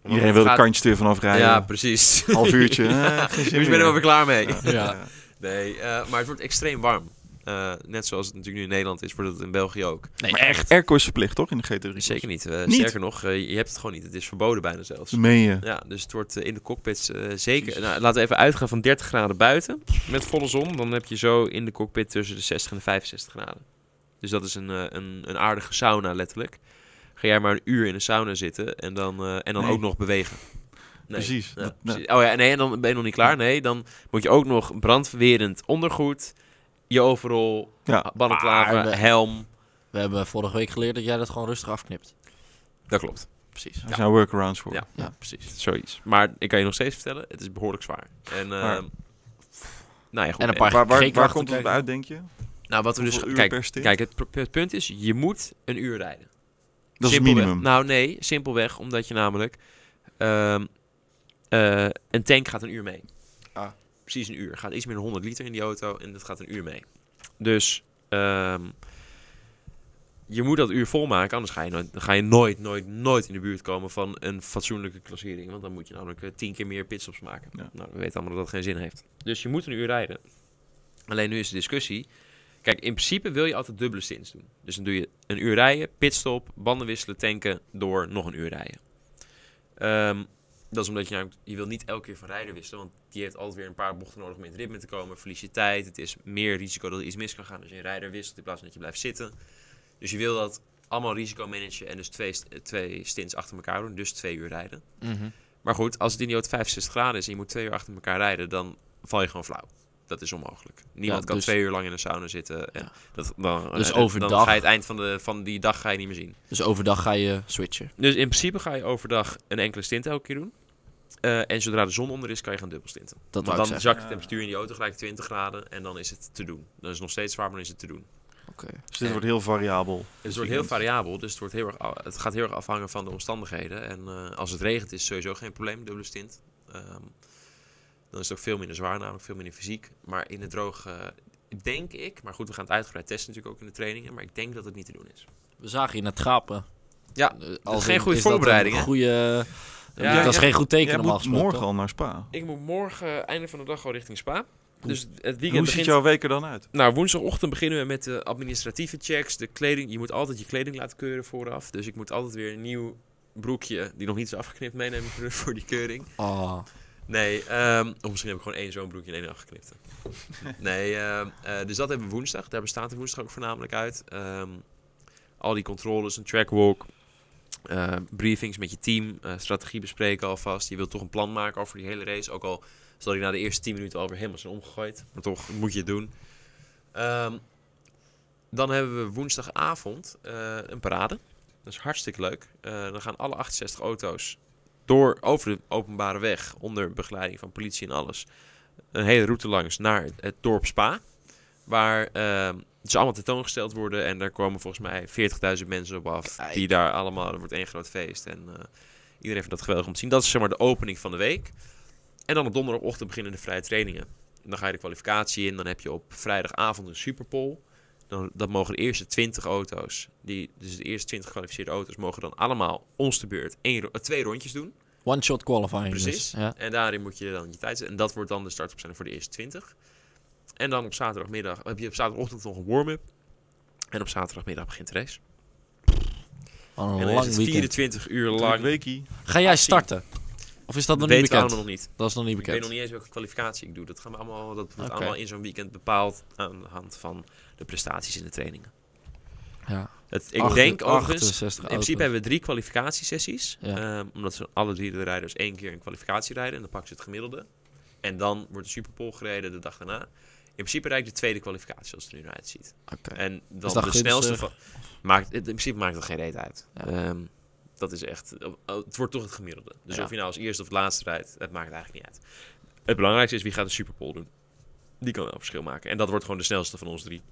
Iedereen het wil de gaat- kantjes er vanaf rijden. Ja, [LAUGHS] precies. Half uurtje. Eh, Nu ben ik er wel weer klaar mee. Ja. Nee, eh, maar het wordt extreem warm. Eh, net zoals het natuurlijk nu in Nederland is, wordt het in België ook. Nee, Maar echt. echt. Airco is verplicht, toch? In de GT3. Zeker niet. Eh, Niet? Sterker nog, eh, je hebt het gewoon niet. Het is verboden bijna zelfs. Dat meen je. Ja, dus het wordt eh, in de cockpits eh, zeker. Nou, laten we even uitgaan van 30 graden buiten met volle zon. Dan heb je zo in de cockpit tussen de 60 en de 65 graden. Dus dat is een, eh, een, een aardige sauna letterlijk. Ga jij maar een uur in een sauna zitten en dan, eh, en dan Nee. ook nog bewegen. Nee. Precies. Ja, Dat- precies. Oh ja, nee, en dan ben je nog niet klaar. Nee, dan moet je ook nog brandverwerend ondergoed, je overal, Ja. Ah, eh, ballenklaven, Maar de- helm. We hebben vorige week geleerd dat jij dat gewoon rustig afknipt. Dat klopt, Precies. Er zijn workarounds voor. Ja. Ja, precies. zoiets. Maar ik kan je nog steeds vertellen, het is behoorlijk zwaar. En, eh, Maar- nou ja, goed, En een eh, paar Waar, waar, G-krachten waar komt het krijgen. uit, denk je? Nou, wat we dus. Hoeveel uur Kijk, per stint? kijk het, pro- het punt is: je moet een uur rijden. Dat is het Simpelweg- minimum. Nou, nee, simpelweg omdat je namelijk. ehm, eh, een tank gaat een uur mee. Ah. Precies een uur. Gaat iets meer dan 100 liter in die auto en dat gaat een uur mee. Dus. ehm, je moet dat uur volmaken, anders ga je, nooit, dan ga je nooit, nooit, nooit in de buurt komen van een fatsoenlijke klassering. Want dan moet je namelijk eh, tien keer meer pitstops maken. Ja. Nou, we weten allemaal dat dat geen zin heeft. Dus je moet een uur rijden. Alleen nu is de discussie. Kijk, in principe wil je altijd dubbele stints doen. Dus dan doe je een uur rijden, pitstop, banden wisselen, tanken, door nog een uur rijden. Ehm, dat is omdat je namelijk, je wil niet elke keer van rijder wisselen, want die heeft altijd weer een paar bochten nodig om in het ritme te komen. Verlies je tijd, het is meer risico dat er iets mis kan gaan als je een rijder wisselt in plaats van dat je blijft zitten. Dus je wil dat allemaal risico managen en dus twee, st- twee stints achter elkaar doen, dus twee uur rijden. Mhm. Maar goed, als het in die auto 65 graden is en je moet twee uur achter elkaar rijden, dan val je gewoon flauw. Dat is onmogelijk. Niemand Ja, kan dus- twee uur lang in een sauna zitten. En Ja. dat, dan, Dus eh, Dan overdag. ga je het eind van, de, van die dag ga je niet meer zien. Dus overdag ga je switchen. Dus in principe ga je overdag een enkele stint elke keer doen. Eh, en zodra de zon onder is, kan je gaan dubbelstinten. Dat Maar wou ik dan zeggen. zakt de temperatuur in die auto gelijk 20 graden en dan is het te doen. Dan is het nog steeds zwaar, maar dan is het te doen. Oké. Dus eh, dit wordt heel variabel. Het wordt heel variabel, dus het, wordt heel erg, a- het gaat heel erg afhangen van de omstandigheden. En eh, als het regent is het sowieso geen probleem, dubbele stint. Ehm, dan is het ook veel minder zwaar, namelijk veel minder fysiek. Maar in het droog, eh, denk ik, maar goed, we gaan het uitgebreid testen natuurlijk ook in de trainingen. Maar ik denk dat het niet te doen is. We zagen je net gapen. Ja, Eh, dat is in, geen goede is dat een voorbereiding. hè? goede... Ja, dat is ja. geen goed teken Jij normaal moet gesproken. morgen al naar Spa. Ik moet morgen, eh, einde van de dag, al richting Spa. Hoe- Dus het weekend Hoe ziet begint... jouw week er dan uit? Nou, woensdagochtend beginnen we met de administratieve checks, de kleding. Je moet altijd je kleding laten keuren vooraf. Dus ik moet altijd weer een nieuw broekje, die nog niet is afgeknipt, meenemen voor- voor die keuring. Oh, Nee, ehm, of misschien heb ik gewoon één zo'n broekje en één afgeknipt. nee, ehm, eh, dus dat hebben we woensdag. Daar bestaat de woensdag ook voornamelijk uit. Ehm, al die controles, een trackwalk, eh, briefings met je team, eh, strategie bespreken alvast. Je wilt toch een plan maken over die hele race. Ook al zal ik na de eerste 10 minuten alweer helemaal zijn omgegooid. Maar toch moet je het doen. Ehm, dan hebben we woensdagavond eh, een parade. Dat is hartstikke leuk. Eh, dan gaan alle 68 auto's door over de openbare weg, onder begeleiding van politie en alles, een hele route langs naar het dorp Spa. Waar ehm ze allemaal tentoongesteld worden en daar komen volgens mij 40.000 mensen op af. Kijk. Die daar allemaal, er wordt één groot feest en eh, iedereen vindt dat geweldig om te zien. Dat is zeg maar de opening van de week. En dan op donderdagochtend beginnen de vrije trainingen. En dan ga je de kwalificatie in, dan heb je op vrijdagavond een superpol. Dan, dat mogen de eerste 20 auto's, die, dus de eerste 20 gekwalificeerde auto's, mogen dan allemaal ons de beurt één, ro- eh, twee rondjes doen. one-shot qualifying. dus. Precies. Ja. En daarin moet je dan je tijd zetten. En dat wordt dan de startopstelling voor de eerste 20. En dan op zaterdagmiddag heb je op zaterdagochtend nog een warm-up. En op zaterdagmiddag begint de race. Wat En een dan is lang het weekend. 24 uur Druk lang. weekie. Ga jij actie. starten? Of is dat nog weten niet we bekend? allemaal nog niet. Dat is nog Ik niet weet bekend. nog niet eens welke kwalificatie ik doe. Dat, gaan we allemaal, dat wordt Oké. allemaal in zo'n weekend bepaald aan de hand van de prestaties in de trainingen. Ja. Het, ik Achter- denk overigens, 68 in principe auto's. hebben we drie kwalificatiesessies. Ja. Ehm, omdat ze alle drie de rijders één keer een kwalificatie rijden. En dan pakken ze het gemiddelde. En dan wordt de Superpole gereden de dag daarna. In principe rijd ik de tweede kwalificatie, zoals het er nu naar uitziet. Oké. En dan dat de gunstig? snelste van... Maakt, het- in principe maakt het geen reet uit. Ja. Ehm, dat is echt... oh, Het wordt toch het gemiddelde. Dus Ja. of je nou als eerste of laatste rijdt, het maakt eigenlijk niet uit. Het belangrijkste is wie gaat de Superpole doen. Die kan wel een verschil maken. En dat wordt gewoon de snelste van ons drie.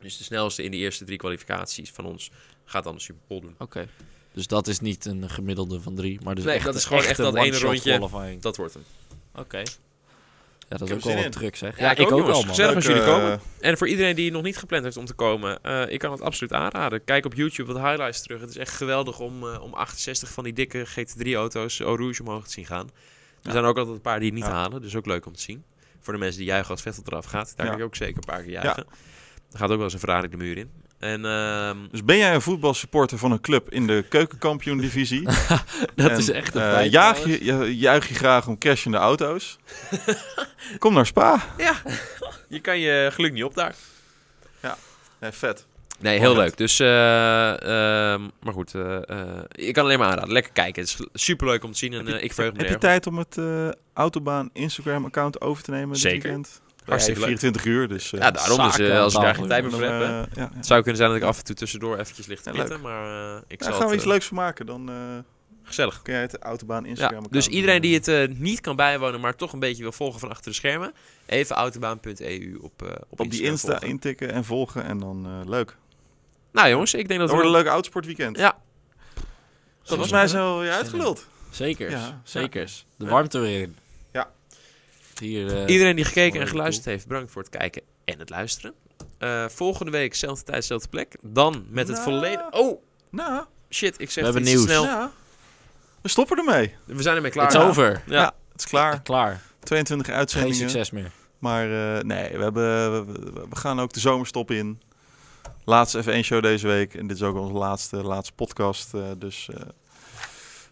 Dus de snelste in de eerste drie kwalificaties van ons gaat dan de Superpole doen. Oké. Dus dat is niet een gemiddelde van drie, maar dus Nee, echt, dat is gewoon echte echt dat ene one-shot rondje. qualifying. Dat wordt hem. Oké. Ja, dat Ik is ook heb er zin wel in. wat druk, zeg. Ja, ik ook, jongens. wel, man. Gezellig als Leuk, jullie eh, komen. En voor iedereen die nog niet gepland heeft om te komen, eh, ik kan het absoluut aanraden. Kijk op YouTube wat highlights terug. Het is echt geweldig om, eh, om 68 van die dikke GT3-auto's Eau eh, Rouge omhoog te zien gaan. Er Ja. zijn ook altijd een paar die het niet Ja. halen, dus ook leuk om te zien. Voor de mensen die juichen als Vettel eraf gaat, daar Ja. kan ik ook zeker een paar keer juichen. Er gaat ook wel eens een Ferrari de muur in. En ehm, Dus ben jij een voetbalsupporter van een club in de [LAUGHS] keukenkampioen-divisie? Dat En, is echt een eh, feit, jaag je, je- juich je graag om crashende [LAUGHS] auto's? Kom naar Spa. ja, je kan je geluk niet op daar. Nee, vet. Nee, heel leuk. Dus, eh, ehm, maar goed, eh, eh, ik kan alleen maar aanraden. Lekker kijken. Het is superleuk om te zien en eh, ik verheug me Heb er je erg op. tijd om het eh, Autobaan Instagram-account over te nemen dit Zeker. weekend? Hartstikke Ja, leuk. 24 uur, dus... eh, Ja, daarom. Dus, eh, zaken aan als je daar tafel, geen tijd meer dan, voor hebt, hè. eh, ja, ja. Het zou kunnen zijn dat ik af en toe tussendoor eventjes licht Ja, te pitten, maar eh, ik Daar zal gaan we het, iets eh, leuks van maken. Dan eh, Gezellig. Kun jij het autobaan Ja, Instagram? dus iedereen die het eh, niet kan bijwonen, maar toch een beetje wil volgen van achter de schermen, even autobaan.eu op, eh, op, op die Insta volgen. intikken en volgen en dan eh, leuk. Nou jongens, ik denk dat Dat we... wordt een leuk autosportweekend. Ja. Dat was Volgens mij zo weer in. uitgeluld. Zeker, Ja. zeker. De warmte weer in. Ja. Hier, eh, Iedereen die gekeken en Mooi, geluisterd heeft, bedankt voor het kijken en het luisteren. Eh, volgende week, zelfde tijd, zelfde plek. Dan met het Nou. volledige... Oh, Nou, shit, ik zeg We het hebben iets te nieuws. snel. ja. We stoppen ermee. We zijn ermee klaar. het is Ja. over. Ja. Ja. Het is klaar. Klaar. 22 Geen uitzendingen. succes meer. Maar eh, nee, we, hebben, we, we- we gaan ook de zomerstop in. Laatste F1-show deze week. En dit is ook onze laatste, laatste podcast. eh, dus eh,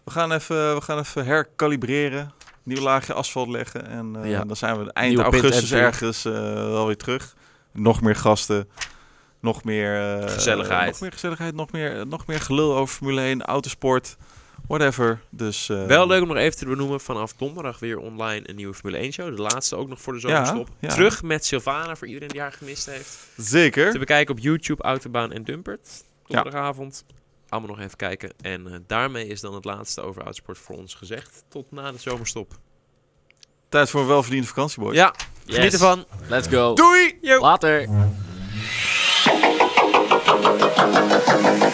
we, gaan even, we gaan even herkalibreren. Nieuw laagje asfalt leggen. En eh, Ja. dan zijn we eind Nieuwe pit augustus entry. ergens eh, wel weer terug. Nog meer gasten. Nog meer... eh, Gezelligheid. Nog meer gezelligheid. Nog meer, nog meer gelul over Formule 1, autosport. Whatever. Dus, eh, Wel leuk om nog even te benoemen, vanaf donderdag weer online een nieuwe Formule 1 show. De laatste ook nog voor de Ja, zomerstop. ja. Terug met Sylvana, voor iedereen die haar gemist heeft. Zeker. Te bekijken op YouTube, Autobaan en Dumpert. Donderdagavond. Allemaal nog even kijken. En eh, daarmee is dan het laatste over Autosport voor ons gezegd. Tot na de zomerstop. Tijd voor een welverdiende vakantieboy. Ja, Yes. geniet ervan. Let's go. Doei! Yo. Later.